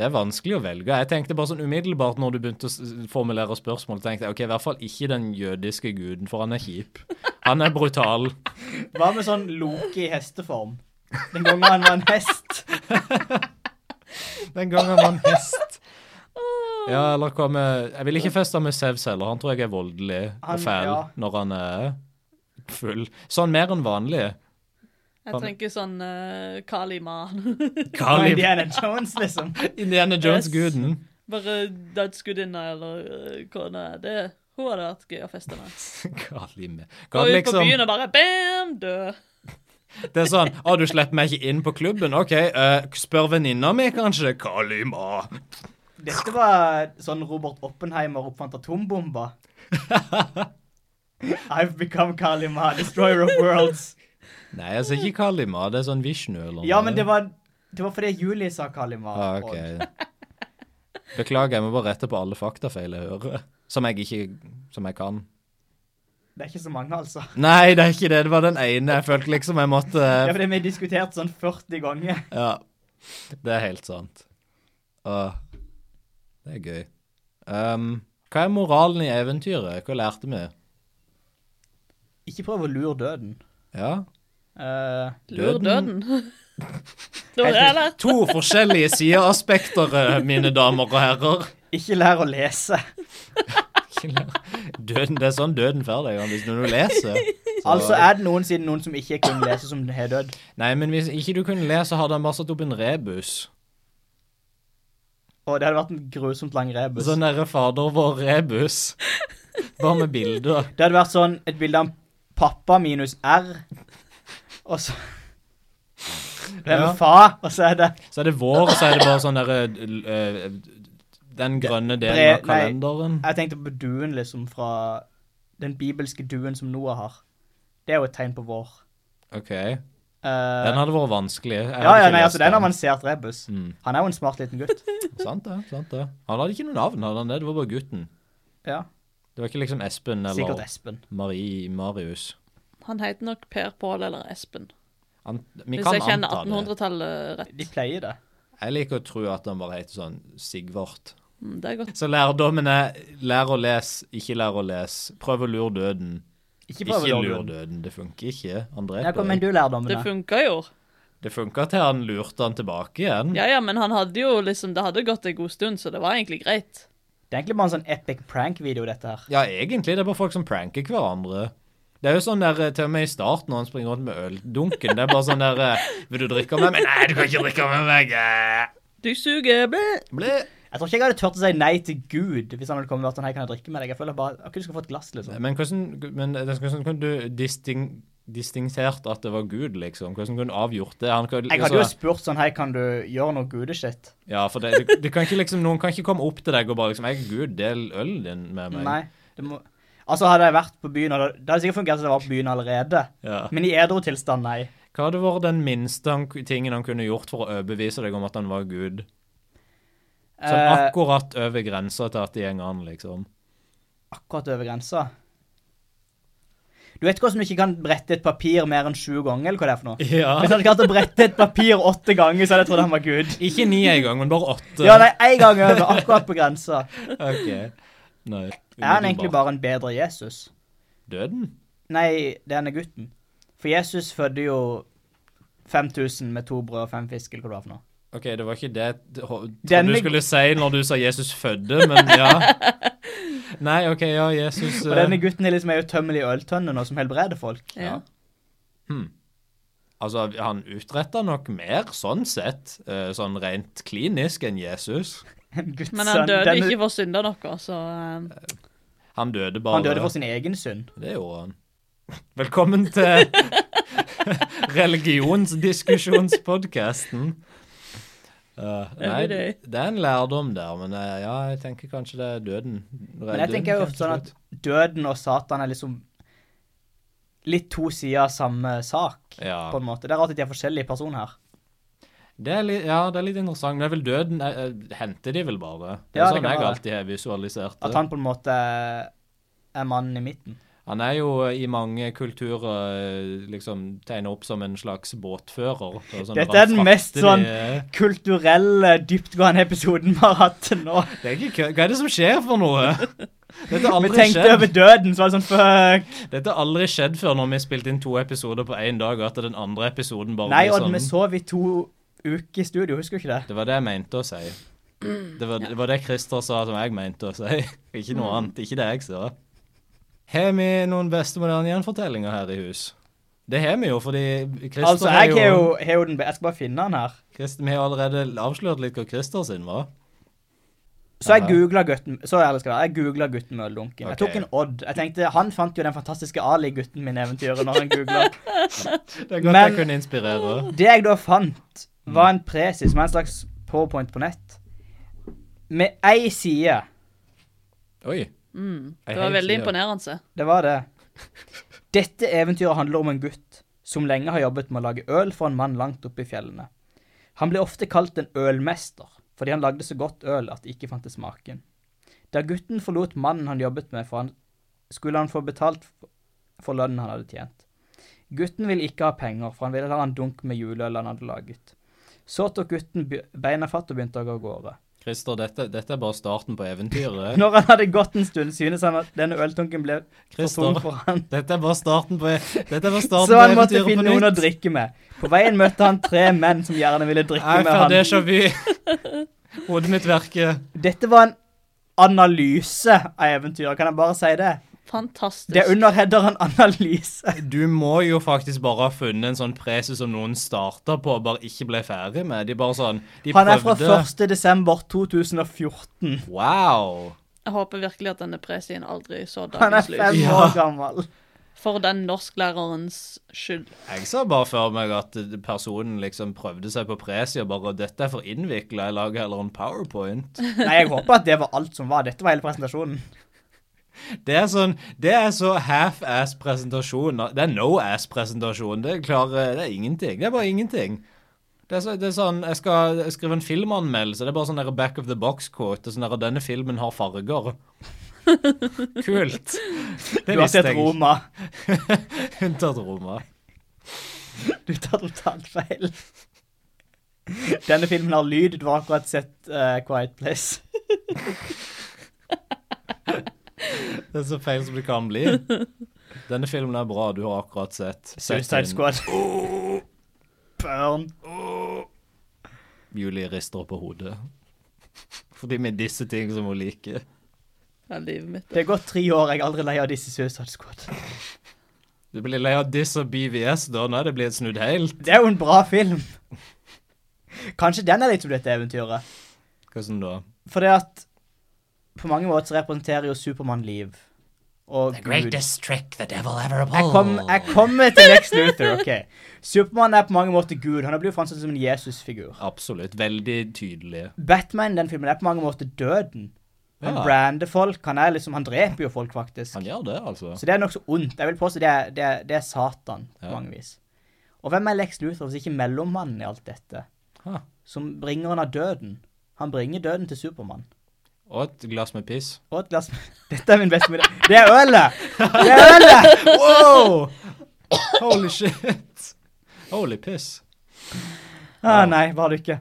Speaker 2: Det er vanskelig å velge. Jeg tenkte bare sånn umiddelbart når du begynte å s- formulere spørsmål, tenkte jeg ok, i hvert fall ikke den jødiske guden, for han er kjip. Han er brutal.
Speaker 1: Hva med sånn Loke i hesteform? Den gangen han var en hest.
Speaker 2: Den gangen var han hest. Ja, eller hva med Jeg vil ikke feste med Sevs heller. Han tror jeg er voldelig
Speaker 1: Han-
Speaker 2: og fæl
Speaker 1: ja.
Speaker 2: når han er full. Sånn mer enn vanlig.
Speaker 3: Jeg tenker sånn uh, Kalima.
Speaker 1: Og
Speaker 2: Kali
Speaker 1: Indiana Jones, liksom.
Speaker 2: Indiana Jones-guden.
Speaker 3: Bare dødsgudinne eller uh, kone. Det, hun hadde vært gøy å feste med.
Speaker 2: Kali med
Speaker 3: Gå
Speaker 2: Kan
Speaker 3: ut på
Speaker 2: liksom
Speaker 3: byen og bare bam, død.
Speaker 2: Det er sånn Å, du slipper meg ikke inn på klubben? OK, eh, spør venninna mi, kanskje? Kalima.
Speaker 1: Dette var sånn Robert Oppenheimer oppfant atombomba. I've become Kalima, destroyer of worlds.
Speaker 2: Nei, jeg sier ikke Kalima. Det er sånn Vishnu eller noe.
Speaker 1: Ja, men det var, det var fordi Julie sa Kalima.
Speaker 2: ah, ok. Beklager, jeg må bare rette på alle faktafeil jeg hører. Som jeg ikke Som jeg kan.
Speaker 1: Det er ikke så mange, altså.
Speaker 2: Nei, det er ikke det. Det var den ene. Jeg følte liksom jeg måtte
Speaker 1: Det er fordi vi har diskutert sånn 40 ganger.
Speaker 2: Ja. Det er helt sant. Åh, det er gøy. Ehm, hva er moralen i eventyret? Hva lærte vi?
Speaker 1: Ikke prøv å lure døden.
Speaker 2: Ja.
Speaker 1: Eh,
Speaker 3: Lur
Speaker 2: Døden.
Speaker 3: døden. det var det jeg lærte.
Speaker 2: To forskjellige sideaspekter, eh, mine damer og herrer.
Speaker 1: ikke lær å lese.
Speaker 2: Døden, det er sånn døden får deg, Johannes, når du leser. Så-
Speaker 1: Altså er det noensinne noen som ikke kunne lese, som har dødd.
Speaker 2: Nei, men hvis ikke du kunne lese, hadde han bare satt opp en rebus.
Speaker 1: Og det hadde vært en grusomt lang rebus.
Speaker 2: Sånn derre fader vår rebus. Bare med bilder.
Speaker 1: Det hadde vært sånn et bilde av pappa minus R, og så Hvem
Speaker 2: Ja.
Speaker 1: er far? Og så er det
Speaker 2: Så er det vår, og så er det bare sånn derre l- eh, Den grønne delen
Speaker 1: Bre-
Speaker 2: av kalenderen.
Speaker 1: Jeg tenkte på duen, liksom, fra den bibelske duen som Noah har. Det er jo et tegn på vår.
Speaker 2: OK.
Speaker 1: Eh,
Speaker 2: Den hadde vært vanskelig. Jeg
Speaker 1: ja,
Speaker 2: hadde
Speaker 1: ja,
Speaker 2: ikke
Speaker 1: nei,
Speaker 2: lest
Speaker 1: altså, det er en avansert rebus.
Speaker 2: Mm.
Speaker 1: Han er jo en smart liten gutt.
Speaker 2: Sant det. sant det. Han hadde ikke noe navn, hadde han det? Det var bare gutten.
Speaker 1: Ja,
Speaker 2: Det var ikke liksom Espen
Speaker 1: Sikkert
Speaker 2: eller
Speaker 1: Espen.
Speaker 2: Marie Marius.
Speaker 3: Han heter nok Per Pål eller Espen.
Speaker 2: Han, vi
Speaker 3: Hvis
Speaker 2: kan
Speaker 3: jeg kjenner
Speaker 2: anta det.
Speaker 3: 1800-tallet rett.
Speaker 1: De pleier det.
Speaker 2: Jeg liker å tro at han bare heter sånn Sigvart.
Speaker 3: Mm, Det er godt.
Speaker 2: Så lærdommen er lær å lese, ikke lær å lese. Prøv å lure døden.
Speaker 1: Ikke
Speaker 2: Ikke
Speaker 1: prøv å
Speaker 2: lur
Speaker 1: lure den.
Speaker 2: døden. Det funker ikke.
Speaker 1: Ja,
Speaker 2: Han dreper
Speaker 1: kom, men
Speaker 2: deg.
Speaker 1: du lærdommen,
Speaker 3: Det
Speaker 1: da.
Speaker 3: funka jo.
Speaker 2: Det funka til han lurte han tilbake igjen.
Speaker 3: Ja ja, men han hadde jo liksom Det hadde gått en god stund, så det var egentlig greit.
Speaker 1: Det er egentlig bare en sånn epic prank-video, dette her.
Speaker 2: Ja, egentlig. Det er bare folk som pranker hverandre. Det er jo sånn der, eh, Til og med i starten når han springer rundt med øldunken. Det er bare sånn der eh, Vil du drikke med meg? Nei, du kan ikke drikke med meg. eh.
Speaker 3: Du suger blæ.
Speaker 2: Ble.
Speaker 1: Jeg tror ikke jeg hadde turt å si nei til Gud hvis han hadde kommet og vært sånn, hei, kan jeg drikke med deg? Jeg føler bare, ok, du skal få et glass, liksom.
Speaker 2: Men hvordan, men det- hvordan kunne du disting, distingtert at det var Gud, liksom? Hvordan kunne du avgjort det? Han, kan-
Speaker 1: Jeg hadde jo
Speaker 2: altså-
Speaker 1: spurt sånn, hei, kan du gjøre noe gudeshit?
Speaker 2: Ja, for det, du, du kan ikke liksom, noen kan ikke komme opp til deg og bare liksom Jeg, gud, del ølen din med meg.
Speaker 1: Nei. Det må... Altså, hadde jeg vært på byen, hadde... det hadde sikkert fungert at jeg var på byen allerede.
Speaker 2: Ja.
Speaker 1: Men i edru tilstand, nei.
Speaker 2: Hva hadde vært den minste han, tingen han kunne gjort for å overbevise deg om at han var gud? Sånn
Speaker 1: Eh,
Speaker 2: akkurat over grensa til at det går an, liksom.
Speaker 1: akkurat over grensa. Du vet hvordan du ikke kan brette et papir mer enn sju ganger, eller hva det er for noe?
Speaker 2: Ja.
Speaker 1: Hvis jeg hadde klart å brette et papir åtte ganger, så hadde jeg trodd han var Gud.
Speaker 2: Ikke ni en gang, men bare åtte.
Speaker 1: Ja, nei, én gang over, akkurat på grensa.
Speaker 2: Ok. Nei.
Speaker 1: Er han egentlig bare en bedre Jesus?
Speaker 2: Døden?
Speaker 1: Nei, denne gutten. For Jesus fødde jo 5000 med to brød og fem fisk, eller hva det var for noe.
Speaker 2: OK, det var ikke det jeg trodde
Speaker 1: Denne-
Speaker 2: du skulle si når du sa Jesus fødde, men ja. Nei, OK, ja, Jesus
Speaker 1: Og
Speaker 2: eh,
Speaker 1: denne gutten er liksom ei utømmelig øltønne nå som helbreder folk.
Speaker 3: Ja.
Speaker 2: Altså, han utretta nok mer, sånn sett, eh, sånn rent klinisk, enn Jesus.
Speaker 1: En Guds
Speaker 3: Men han
Speaker 1: sønn.
Speaker 3: døde
Speaker 1: Denne-
Speaker 3: ikke for synder noe, så eh,
Speaker 2: Han døde bare
Speaker 1: Han døde for sin egen synd.
Speaker 2: Det gjorde han. Velkommen til religionsdiskusjonspodkasten. Uh, nei, det
Speaker 3: Everyday.
Speaker 2: er en lærdom der, men eh, ja, jeg tenker kanskje det er døden.
Speaker 1: Men jeg tenker jo ofte sånn at døden og Satan er liksom litt to sider av samme sak,
Speaker 2: Ja.
Speaker 1: på en måte. Det er rart at de er forskjellige personer her.
Speaker 2: det er litt, Ja, det er litt interessant, men det er vel døden eh, eh, henter de vel bare? Det er
Speaker 1: Ja, det
Speaker 2: sånn
Speaker 1: kan
Speaker 2: jeg
Speaker 1: være.
Speaker 2: alltid har visualisert
Speaker 1: At
Speaker 2: det.
Speaker 1: han på en måte er mannen i midten.
Speaker 2: Han er jo eh, i mange kulturer eh, liksom tegnet opp som en slags båtfører. og sånn
Speaker 1: Dette er den mest
Speaker 2: frakter
Speaker 1: sånn-
Speaker 2: de- eh,
Speaker 1: Kulturelle, dyptgående episoden vi har hatt til nå.
Speaker 2: Det er ikke kø- Hva er det som skjer for noe? Dette har
Speaker 1: Vi
Speaker 2: aldri
Speaker 1: tenkte
Speaker 2: skjedd.
Speaker 1: over døden, så var det sånn fuck.
Speaker 2: Dette har aldri skjedd før når vi spilte inn to episoder på én dag, at den andre episoden bare
Speaker 1: Nei,
Speaker 2: blir
Speaker 1: Odd,
Speaker 2: sånn.
Speaker 1: vi sov i to uker i studio, husker du ikke det?
Speaker 2: Det var det jeg mente å si. Det var, det var det Christer sa som jeg mente å si, ikke noe annet. Ikke det jeg sa. Har vi noen beste moderne gjenfortellinger her i hus? Det har vi jo, fordi Christer
Speaker 1: Altså,
Speaker 2: har
Speaker 1: jeg har jo, har jo den be- Jeg skal bare finne den her.
Speaker 2: Christer, Vi har allerede avslørt litt hva Christer sin var.
Speaker 1: Så jeg
Speaker 2: Aha.
Speaker 1: googla gutten Så ærlig skal jeg være, jeg googlet gutten med øldunken. Jeg
Speaker 2: Ok.
Speaker 1: tok en Odd. Jeg tenkte, Han fant jo den fantastiske Ali-gutten min i eventyret når han googla.
Speaker 2: Det er godt
Speaker 1: Men-
Speaker 2: jeg kunne inspirere.
Speaker 1: Det jeg da fant, var
Speaker 2: Mm.
Speaker 1: en presis, som er en slags powerpoint på nett, med ei side.
Speaker 2: Oi. Mm.
Speaker 3: det var veldig imponerende.
Speaker 1: Det var det. Dette eventyret handler om en gutt som lenge har jobbet med å lage øl for en mann langt oppe i fjellene. Han ble ofte kalt en ølmester, fordi han lagde så godt øl at det ikke fantes maken. Da gutten forlot mannen han jobbet med, for han, skulle han få betalt for lønnen han hadde tjent. Gutten ville ikke ha penger, for han ville ha en dunk med juleøl han hadde laget. Så tok gutten be- beina fatt og begynte å gå av gårde.
Speaker 2: Christer, dette, dette er bare starten på eventyret.
Speaker 1: Når han hadde gått en stund, synes han at denne øldunken ble for tung
Speaker 2: Christer,
Speaker 1: for han,
Speaker 2: dette er bare starten på, dette er bare starten
Speaker 1: så
Speaker 2: på
Speaker 1: han måtte
Speaker 2: eventyret
Speaker 1: finne
Speaker 2: på
Speaker 1: noen å
Speaker 2: nytt.
Speaker 1: drikke med. På veien møtte han tre menn som gjerne ville drikke
Speaker 2: Jeg
Speaker 1: med
Speaker 2: får
Speaker 1: han.
Speaker 2: déjà vu. Hodet mitt verker.
Speaker 1: Dette var en analyse av eventyret, kan jeg bare si det?
Speaker 3: Fantastisk.
Speaker 1: Det er under headeren analyse.
Speaker 2: Du må jo faktisk bare ha funnet en sånn preses som noen starta på og bare ikke ble ferdig med. De bare sånn De
Speaker 1: Han er fra
Speaker 2: prøvde.
Speaker 1: 1. desember 2014.
Speaker 2: Wow.
Speaker 3: Jeg håper virkelig at denne presien aldri så
Speaker 1: Han er
Speaker 3: dagens lys.
Speaker 1: fem
Speaker 2: Ja.
Speaker 1: år gammel.
Speaker 3: For den norsklærerens skyld.
Speaker 2: Jeg sa bare før meg at personen liksom prøvde seg på presi og bare 'Dette er for innvikla, jeg lager heller en powerpoint'.
Speaker 1: Nei, jeg håper at det var alt som var. Dette var hele presentasjonen.
Speaker 2: Det er sånn Det er så half-ass presentasjon. Det er no-ass presentasjon. Det klarer Det er ingenting. Det er bare ingenting. Det er, så, det er sånn Jeg skal skrive en filmanmeldelse. Det er bare sånn der back of the box-quote. Sånn der 'Denne filmen har farger'. Kult. Det
Speaker 1: Du har
Speaker 2: visste
Speaker 1: sett
Speaker 2: jeg ikke.
Speaker 1: Roma.
Speaker 2: Unntatt Roma.
Speaker 1: Du tar totalt feil. Denne filmen har lyd. Du har akkurat sett eh, Quiet Place.
Speaker 2: Det er så feil som det kan bli. Denne filmen er bra. Du har akkurat sett
Speaker 1: Suicide Squad. Burn.
Speaker 2: Julie rister på hodet. Fordi med disse ting som hun liker.
Speaker 3: Det er livet mitt.
Speaker 1: Det er gått tre år. Jeg er aldri lei av disse Suicide Squad.
Speaker 2: Du blir lei av diss og BVS da, når det blir snudd helt.
Speaker 1: Det er jo en bra film. Kanskje den er litt som dette eventyret.
Speaker 2: Hvordan da?
Speaker 1: For det at på mange måter så representerer jo Supermann liv. Og Gud.
Speaker 2: trick the devil ever
Speaker 1: Jeg kom- jeg kommer til Lex Luthor, ok. Supermann er på mange måter Gud. Han blir jo framstilt som en Jesus-figur.
Speaker 2: Absolutt. Veldig tydelig.
Speaker 1: Batman i den filmen er på mange måter døden. Han
Speaker 2: Ja.
Speaker 1: brander folk. Han er liksom, han dreper jo folk, faktisk.
Speaker 2: Han gjør det, altså.
Speaker 1: Så det er nokså ondt. Jeg vil påstå det er, det er, det er Satan på
Speaker 2: Ja.
Speaker 1: mange vis. Og hvem er Lex Luthor hvis ikke mellommannen i alt dette?
Speaker 2: Ha.
Speaker 1: Som bringer han av døden. Han bringer døden til Supermann.
Speaker 2: Og et glass med piss.
Speaker 1: Og et glass Dette er min beste middag. Det er ølet! Det er ølet!
Speaker 2: Wow! Holy shit. Holy piss.
Speaker 1: Ah, nei, var det ikke.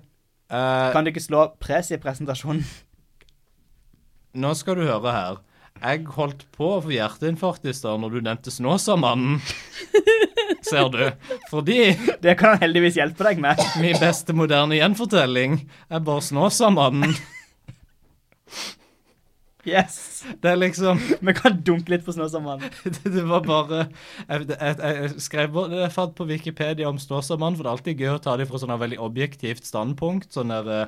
Speaker 2: Eh,
Speaker 1: Kan du ikke slå pres i presentasjonen?
Speaker 2: Nå skal du høre her. Jeg holdt på å få hjerteinfarkt i stad når du nevnte Snåsamannen. Ser du? Fordi
Speaker 1: Det kan han heldigvis hjelpe deg med.
Speaker 2: min beste moderne gjenfortelling er bare Snåsamannen.
Speaker 1: Yes.
Speaker 2: Det er liksom
Speaker 1: Vi kan dunke litt på Snøsamannen.
Speaker 2: Det var bare Jeg, jeg, jeg skrev bare- Jeg fant på Wikipedia om Snåsamannen, for det er alltid gøy å ta det fra sånn veldig objektivt standpunkt. Sånn der eh,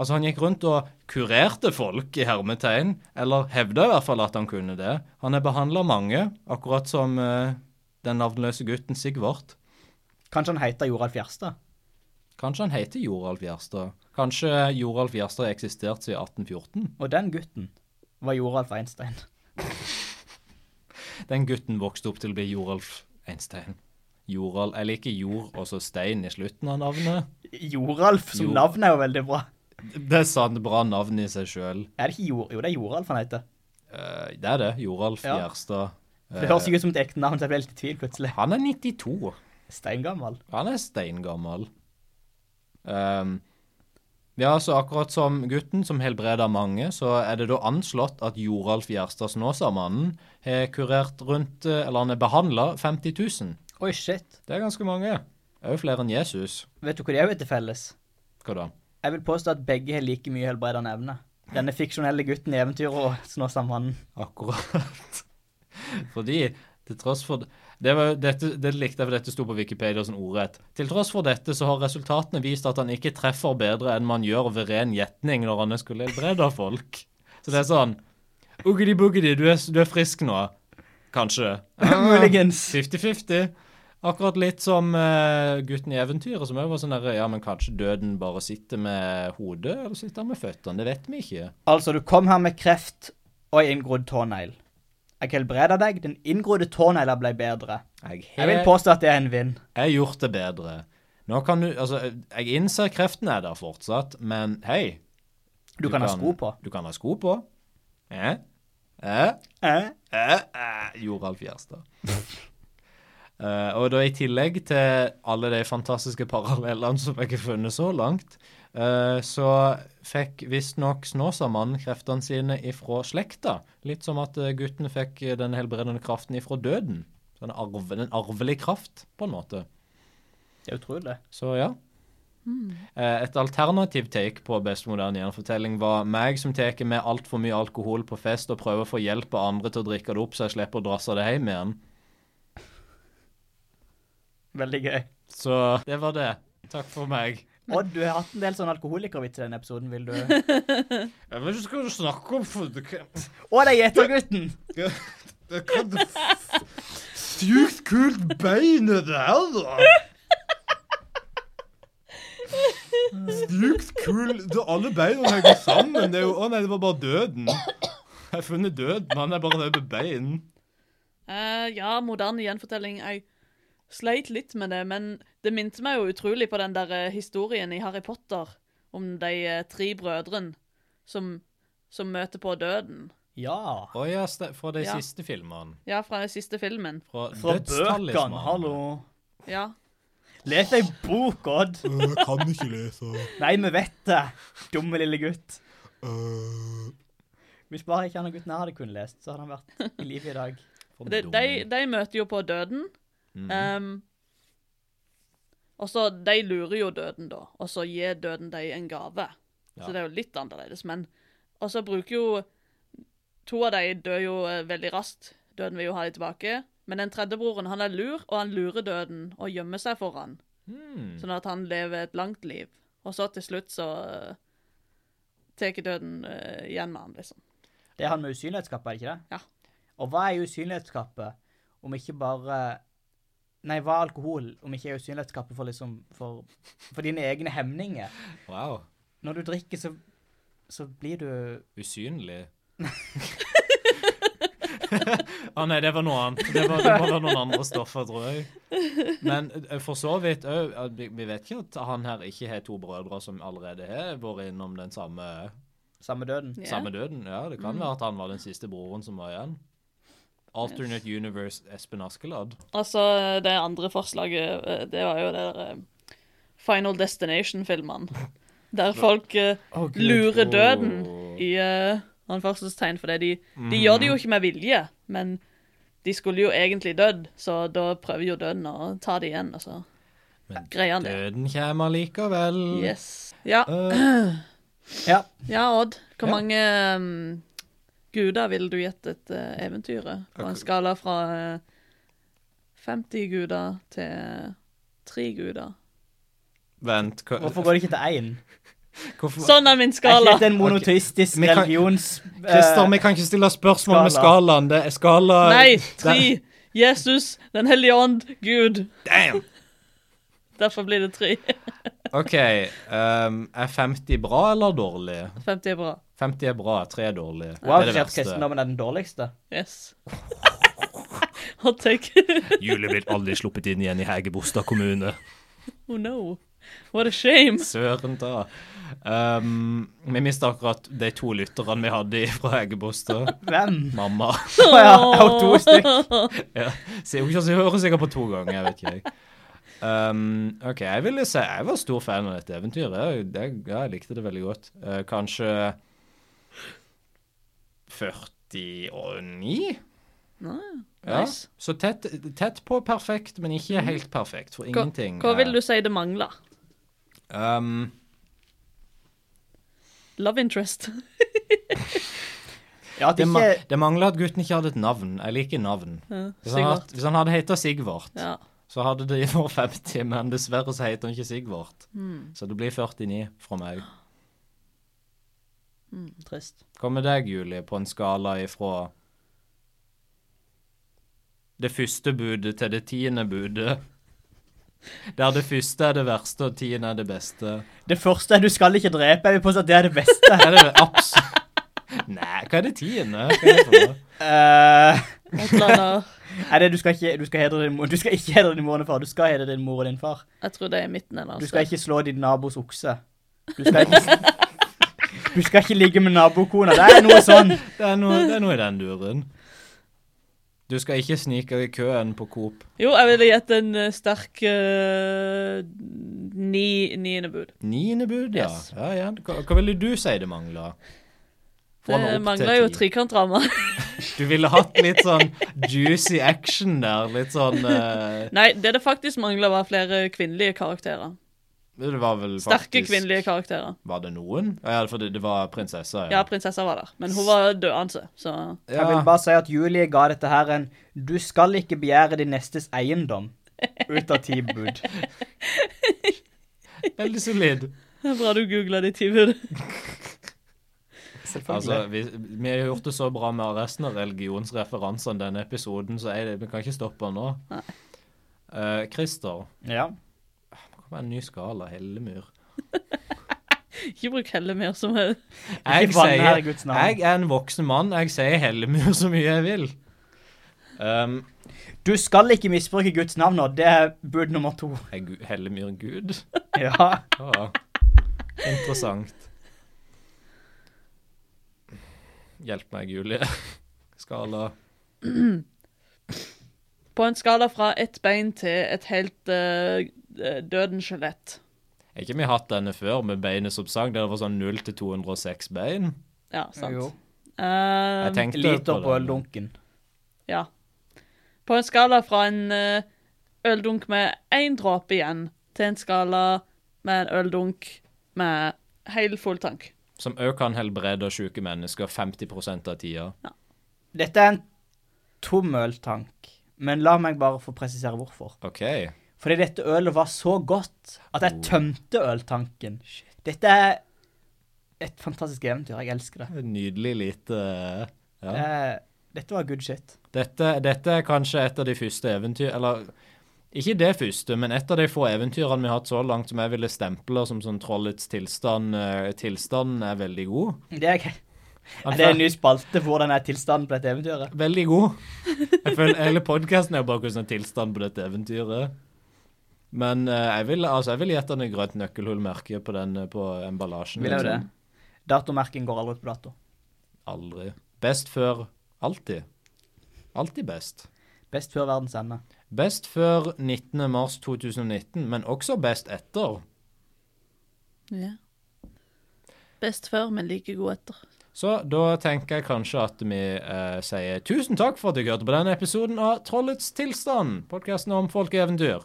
Speaker 2: Altså, han gikk rundt og kurerte folk, i hermetegn. Eller hevda i hvert fall at han kunne det. Han har behandla mange, akkurat som eh, den navnløse gutten Sigvart.
Speaker 1: Kanskje han heter Joralf Gjerstad?
Speaker 2: Kanskje han heter Joralf Gjerstad? Kanskje Joralf Gjerstad har eksistert siden 1814?
Speaker 1: Og den gutten var Joralf Einstein.
Speaker 2: Den gutten vokste opp til å bli Joralf Einstein. Joralf Jeg liker jord og så stein i slutten av navnet.
Speaker 1: Joralf som
Speaker 2: Jo.
Speaker 1: navn er jo veldig bra.
Speaker 2: Det er sant, bra navn i seg sjøl.
Speaker 1: Er det ikke Jor... Jo, det er Joralf han heter.
Speaker 2: Eh, det er det. Joralf
Speaker 1: Ja.
Speaker 2: Gjerstad.
Speaker 1: For Eh, Det høres ikke ut som et ekte navn, så jeg ble litt i tvil plutselig.
Speaker 2: Han er 92.
Speaker 1: Steingammal.
Speaker 2: Han er steingammel. Ehm, ja, så akkurat som gutten som helbreder mange, så er det da anslått at Joralf Gjerstad Snåsamannen har kurert rundt, eh, eller han er behandla 50 000.
Speaker 1: Oi, shit.
Speaker 2: Det er ganske mange. Det er jo flere enn Jesus.
Speaker 1: Vet du hva de òg er til felles?
Speaker 2: Hva da?
Speaker 1: Jeg vil påstå at begge har like mye helbredende evne. Denne fiksjonelle gutten i eventyret og Snåsamannen.
Speaker 2: Akkurat. Fordi til tross for det, var, jo- dette, det likte jeg, for dette sto på Wikipedia som ordrett. Til tross for dette så har resultatene vist at han ikke treffer bedre enn man gjør ved ren gjetning når han skulle helbrede folk. Så det er sånn Uggedi buggedi, du, er s- du er frisk nå. Kanskje.
Speaker 1: Muligens.
Speaker 2: 50-50. Akkurat litt som eh, gutten i eventyret, som òg var sånn derre Ja, men kanskje døden bare sitter med hodet, eller sitter han med føttene? Det vet vi ikke.
Speaker 1: Altså, du kom her med kreft og en inngrodd tånegl. Jeg helbreda deg, den inngrodde tånegla ble bedre. Jeg vil påstå at det er en vinn.
Speaker 2: Jeg har gjort det bedre. Nå kan du, altså, Jeg innser kreften er der fortsatt, men hei
Speaker 1: Du kan ha sko på.
Speaker 2: Du kan ha sko på. Eh? Eh?
Speaker 1: Eh?
Speaker 2: Eh, eh, Joralf Gjerstad. Eh, og da i tillegg til alle de fantastiske parallellene som jeg har funnet så langt, eh, så fikk visstnok Snåsamannen kreftene sine ifra slekta. Litt som at eh, gutten fikk eh, den helbredende kraften ifra døden. Så en, arve, en arvelig kraft, på en måte.
Speaker 1: Det er utrolig. det.
Speaker 2: Så ja. Eh, Et alternativ take på best moderne gjenfortelling var meg som tar med altfor mye alkohol på fest og prøver å få hjelp av andre til å drikke det opp, så jeg slipper å drasse det hjem igjen.
Speaker 1: Veldig gøy.
Speaker 2: Så det var det. Takk for meg.
Speaker 1: Odd, du har hatt en del sånne alkoholikervitser i denne episoden, vil du? Å,
Speaker 2: Jeg vet ikke hva du snakker om. for du kan-
Speaker 1: det er gjetergutten!
Speaker 2: Det kan du f- Sykt kult bein det der, da!
Speaker 6: Sykt kul. Det, alle beina henger sammen. Det er jo, å nei, det var bare døden. Jeg har funnet døden. Han er bare det med bein.
Speaker 3: Eh, ja, moderne gjenfortelling. Jeg sleit litt med det, men det minte meg jo utrolig på den der eh, historien i Harry Potter om de eh, tre brødrene som, som møter på døden.
Speaker 1: Ja.
Speaker 2: Å ja, ste- fra de
Speaker 3: Ja.
Speaker 2: siste filmene.
Speaker 3: Ja, fra den siste filmen.
Speaker 2: Fra,
Speaker 1: Fra
Speaker 2: Dødstalismanen.
Speaker 1: bøkene, hallo.
Speaker 3: Ja.
Speaker 1: Les ei bok, Odd.
Speaker 6: Øh, Jeg kan ikke lese.
Speaker 1: Nei, vi vet det. Dumme lille gutt. Hvis bare ikke han og gutten her hadde kunnet lest, så hadde han vært i live i dag.
Speaker 2: For
Speaker 3: De,
Speaker 2: dum.
Speaker 3: de, de møter jo på døden. Ehm, og så De lurer jo døden, da, og så gir døden dem en gave.
Speaker 2: Ja.
Speaker 3: Så det er jo litt annerledes, men Og så bruker jo To av dem dør jo eh, veldig raskt. Døden vil jo ha dem tilbake. Men den tredje broren han er lur, og han lurer døden og gjemmer seg for han.
Speaker 2: Mm.
Speaker 3: Sånn at han lever et langt liv. Og så til slutt så uh, tar døden eh, igjen med han, liksom.
Speaker 1: Det er han med usynlighetskappe, er det ikke det? Ja. Og hva er usynlighetskappe om ikke bare Nei, hva er alkohol om ikke er usynlighetskappe for liksom for, for dine egne hemninger?
Speaker 2: Wow.
Speaker 1: Når du drikker, så, så blir du
Speaker 2: Usynlig. Å nei, det var noe annet. Det, var, det må være noen andre stoffer, tror jeg. Men eh, for så vidt òg Vi vi vet ikke at han her ikke har to brødre som allerede har vært innom den samme,
Speaker 1: samme døden.
Speaker 3: Ja. Mm.
Speaker 2: samme døden. Ja, Det kan være at han var den siste broren som var igjen. Alternate Universe Espen Askeladd.
Speaker 3: Altså, det andre forslaget, eh, det var jo det der eh, Final Destination-filmene. Der folk eh, lurer døden i uh, anførselstegn, for de, de gjør det jo ikke med vilje, men de skulle jo egentlig dødd, så da prøver jo døden å ta det igjen, altså. og så
Speaker 2: Men
Speaker 3: greier han det.
Speaker 2: Døden kommer likevel.
Speaker 3: Yes. Ja,
Speaker 2: Eh,
Speaker 1: Ja.
Speaker 3: ja Odd. Hvor
Speaker 2: Ja.
Speaker 3: mange um, guder ville du gitt et uh, eventyret? På en skala fra eh, 50 guder til 3 guder.
Speaker 2: vent, hva,
Speaker 1: Hvorfor går det ikke til én?
Speaker 2: hvorfor
Speaker 3: Sånn er min
Speaker 1: Er ikke
Speaker 3: skala.
Speaker 1: dette en monoteistisk
Speaker 2: Vi kan-
Speaker 1: religions...
Speaker 2: Christer,
Speaker 1: eh,
Speaker 2: vi kan ikke stille spørsmål med
Speaker 1: skala.
Speaker 2: skalaen. Det er skala
Speaker 3: Nei, tre. Jesus, Den hellige ånd, Gud.
Speaker 2: Damn!
Speaker 3: Derfor blir det tre.
Speaker 2: OK. ehm, er 50 bra eller dårlig?
Speaker 3: 50 er bra.
Speaker 2: 50 er bra, 3 er dårlig.
Speaker 1: Wow,
Speaker 2: det
Speaker 1: det
Speaker 2: er det
Speaker 1: at kristendommen er den dårligste.
Speaker 3: Yes. Hot take.
Speaker 2: Julie blir aldri sluppet inn igjen i Hegebostad kommune.
Speaker 3: Oh no. What a shame.
Speaker 2: Søren ta. Ehm, vi mista akkurat de to lytterne vi hadde fra Hegebostad.
Speaker 1: Hvem?
Speaker 2: Mamma.
Speaker 1: Å ja, jeg har to stykk.
Speaker 2: Så hun hører sikkert på to ganger, jeg vet ikke. jeg. Um, OK, jeg ville si jeg var stor fan av dette eventyret. Jeg, jeg, ja, jeg likte det veldig godt. Eh, kanskje 49? Ja.
Speaker 3: nice. Mm.
Speaker 2: Så tett, tett på perfekt, men ikke helt perfekt, for
Speaker 3: Hva,
Speaker 2: ingenting.
Speaker 3: hva
Speaker 2: er-
Speaker 3: vil du si det mangler?
Speaker 2: um,
Speaker 3: Love interest.
Speaker 1: Ja, at
Speaker 2: det, ma
Speaker 1: ikke...
Speaker 2: det mangler at gutten ikke hadde et navn. Jeg liker navn. Hvis han,
Speaker 3: Sigvart.
Speaker 2: hadde, hvis han hadde heta Sigvart,
Speaker 3: Ja.
Speaker 2: så hadde det vært 50, men dessverre så heter han ikke Sigvart.
Speaker 3: Mm.
Speaker 2: Så det blir 49 fra meg.
Speaker 1: Trist.
Speaker 2: Hva med deg, Julie, på en skala ifra det første budet til det tiende budet? Der det første er det verste, og tiende er det beste.
Speaker 1: Det første er du skal ikke drepe. Jeg vil påstå at det er det beste.
Speaker 2: Er det abs... Nei, hva er det tiende? Hva er det for noe?
Speaker 1: Eh,
Speaker 3: Et eller annet.
Speaker 1: er det du skal ikke du skal hedre din mor Du skal ikke hedre din mor og din far. Du skal hedre din mor og din far.
Speaker 3: Jeg tror det er i midten. Eller
Speaker 1: Du
Speaker 3: annet
Speaker 1: skal
Speaker 3: sted.
Speaker 1: ikke slå din nabos okse. Du skal ikke Du skal ikke ligge med nabokona. Det er noe sånn.
Speaker 2: Det er noe, det er noe i den duren. Du skal ikke snike deg i køen på Coop.
Speaker 3: Jo, jeg ville gitt en eh, sterk eh, ni, niende bud.
Speaker 2: Niende bud, ja.
Speaker 3: Yes.
Speaker 2: ja, ja. Hva, hva ville du si det mangla? Få den
Speaker 3: Det
Speaker 2: opp til
Speaker 3: mangler jo
Speaker 2: ti.
Speaker 3: trekantrammer.
Speaker 2: Du ville hatt litt sånn juicy action der. Litt sånn eh,
Speaker 3: Nei, det det faktisk mangler, var flere kvinnelige karakterer.
Speaker 2: Det var vel faktisk
Speaker 3: Sterke kvinnelige karakterer.
Speaker 2: Var det noen? Ja, for det, det var prinsesser.
Speaker 3: Ja, prinsessa var der, men hun var døende, så
Speaker 1: Jeg vil bare si at Julie ga dette her en Du skal ikke begjære din nestes eiendom. Ut av ti bud.
Speaker 2: Veldig solid.
Speaker 3: Det er Bra du googla de ti budene.
Speaker 1: Selvfølgelig.
Speaker 2: Altså, vi, vi har gjort det så bra med resten av religionsreferansene denne episoden, så er det, vi kan ikke stoppe nå.
Speaker 3: Nei.
Speaker 2: Eh, Christer,
Speaker 1: ja.
Speaker 2: det kommer en ny skala, Hellemyr.
Speaker 3: Ikke bruk heller mer som er
Speaker 2: Jeg
Speaker 1: Ikke vann her i
Speaker 2: sier,
Speaker 1: Guds navn.
Speaker 2: jeg er en voksen mann, jeg sier Hellemyr så mye jeg vil. Um,
Speaker 1: Du skal ikke misbruke Guds navn nå. Det er bud nummer to.
Speaker 2: er Gu- Hellemyr Gud?
Speaker 1: Ja.
Speaker 2: Ja, interessant. Hjelp meg, Julie. Skala.
Speaker 3: På en skala fra ett bein til et helt eh, eh, dødens skjelett.
Speaker 2: Er ikke vi hatt denne før med beinet som sang? Der det var sånn 0 til 206 bein?
Speaker 3: Ja, sant.
Speaker 1: Jo.
Speaker 3: Eh,
Speaker 2: Jeg tenkte
Speaker 1: Liter på
Speaker 2: den.
Speaker 1: lunken.
Speaker 3: ja. På en skala fra en eh, øldunk med én dråpe igjen, til en skala med en øldunk med hel full tank.
Speaker 2: Som òg kan helbrede syke mennesker 50 av tida.
Speaker 1: Dette er en tom øltank, men la meg bare få presisere hvorfor.
Speaker 2: OK.
Speaker 1: Fordi dette ølet var så godt at jeg tømte øltanken. Dette er et fantastisk eventyr. Jeg elsker det.
Speaker 2: Nydelig lite ja.
Speaker 1: Eh, Dette var good shit.
Speaker 2: dette, dette er kanskje et av de første eventyr... Eller ikke det første, men et av de få eventyrene vi har hatt så langt som jeg ville stemple som sånn trollets tilstand. eh, Tilstanden er veldig god.
Speaker 1: Det er, gøy.
Speaker 2: Han
Speaker 1: er det en ny spalte for hvordan er tilstanden på dette eventyret?
Speaker 2: Veldig god. Jeg føler Hele podkasten er jo bare hvordan er tilstanden på dette eventyret. Men eh, jeg vil, altså, jeg vil gjette den et grønt nøkkelhullmerke på, den, eh, på emballasjen.
Speaker 1: Vil jeg jo det?
Speaker 2: liksom.
Speaker 1: Datomerking går aldri ut på dato.
Speaker 2: Aldri. Best før alltid. Alltid best.
Speaker 1: Best før verdens ende.
Speaker 2: Best før 19. mars 2019, men også best etter.
Speaker 3: Ja. Best før, men like god etter.
Speaker 2: Så da tenker jeg kanskje at vi eh, sier tusen takk for at dere hørte på denne episoden av Trollets tilstand, podkasten om folkeeventyr.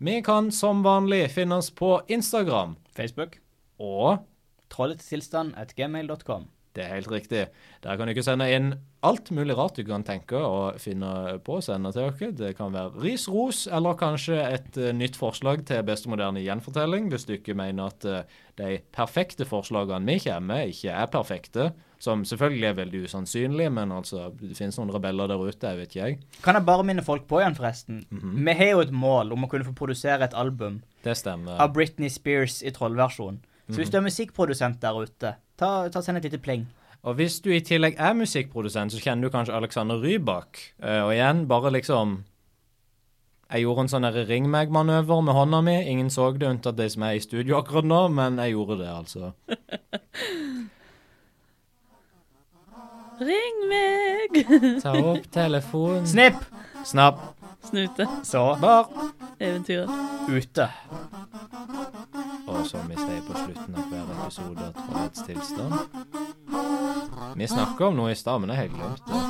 Speaker 2: Vi kan som vanlig finne oss på Instagram.
Speaker 1: Facebook.
Speaker 2: Og
Speaker 1: Trollets tilstand at gmail.com.
Speaker 2: det er helt riktig. Der kan du ikke sende inn alt mulig rart du kan tenke og finne på å sende til dere. Det kan være ris, ros, eller kanskje et eh, nytt forslag til beste moderne gjenfortelling, hvis du ikke mener at eh, de perfekte forslagene vi kommer med, ikke er perfekte. Som selvfølgelig er veldig usannsynlige, men altså, det finnes noen rebeller der ute, jeg vet ikke jeg.
Speaker 1: Kan jeg bare minne folk på igjen, forresten? Vi har jo et mål om å kunne få produsere et album
Speaker 2: Det stemmer.
Speaker 1: av Britney Spears i trollversjon. Så hvis du er musikkprodusent der ute, ta, ta send et lite pling.
Speaker 2: Og hvis du i tillegg er musikkprodusent, så kjenner du kanskje Alexander Rybak. Eh, og igjen, bare liksom Jeg gjorde en sånn der ring meg-manøver med hånda mi. Ingen så det, unntatt de som er i studio akkurat nå, men jeg gjorde det, altså.
Speaker 3: Ring meg!
Speaker 2: Ta opp telefonen
Speaker 1: Snipp!
Speaker 2: Snapp.
Speaker 3: Snute.
Speaker 1: Så
Speaker 2: Bar.
Speaker 3: Eventyret.
Speaker 1: ute.
Speaker 2: Og som vi sier på slutten av hver episode av Trollets tilstand Vi snakka om noe i stad, men jeg har glemt det.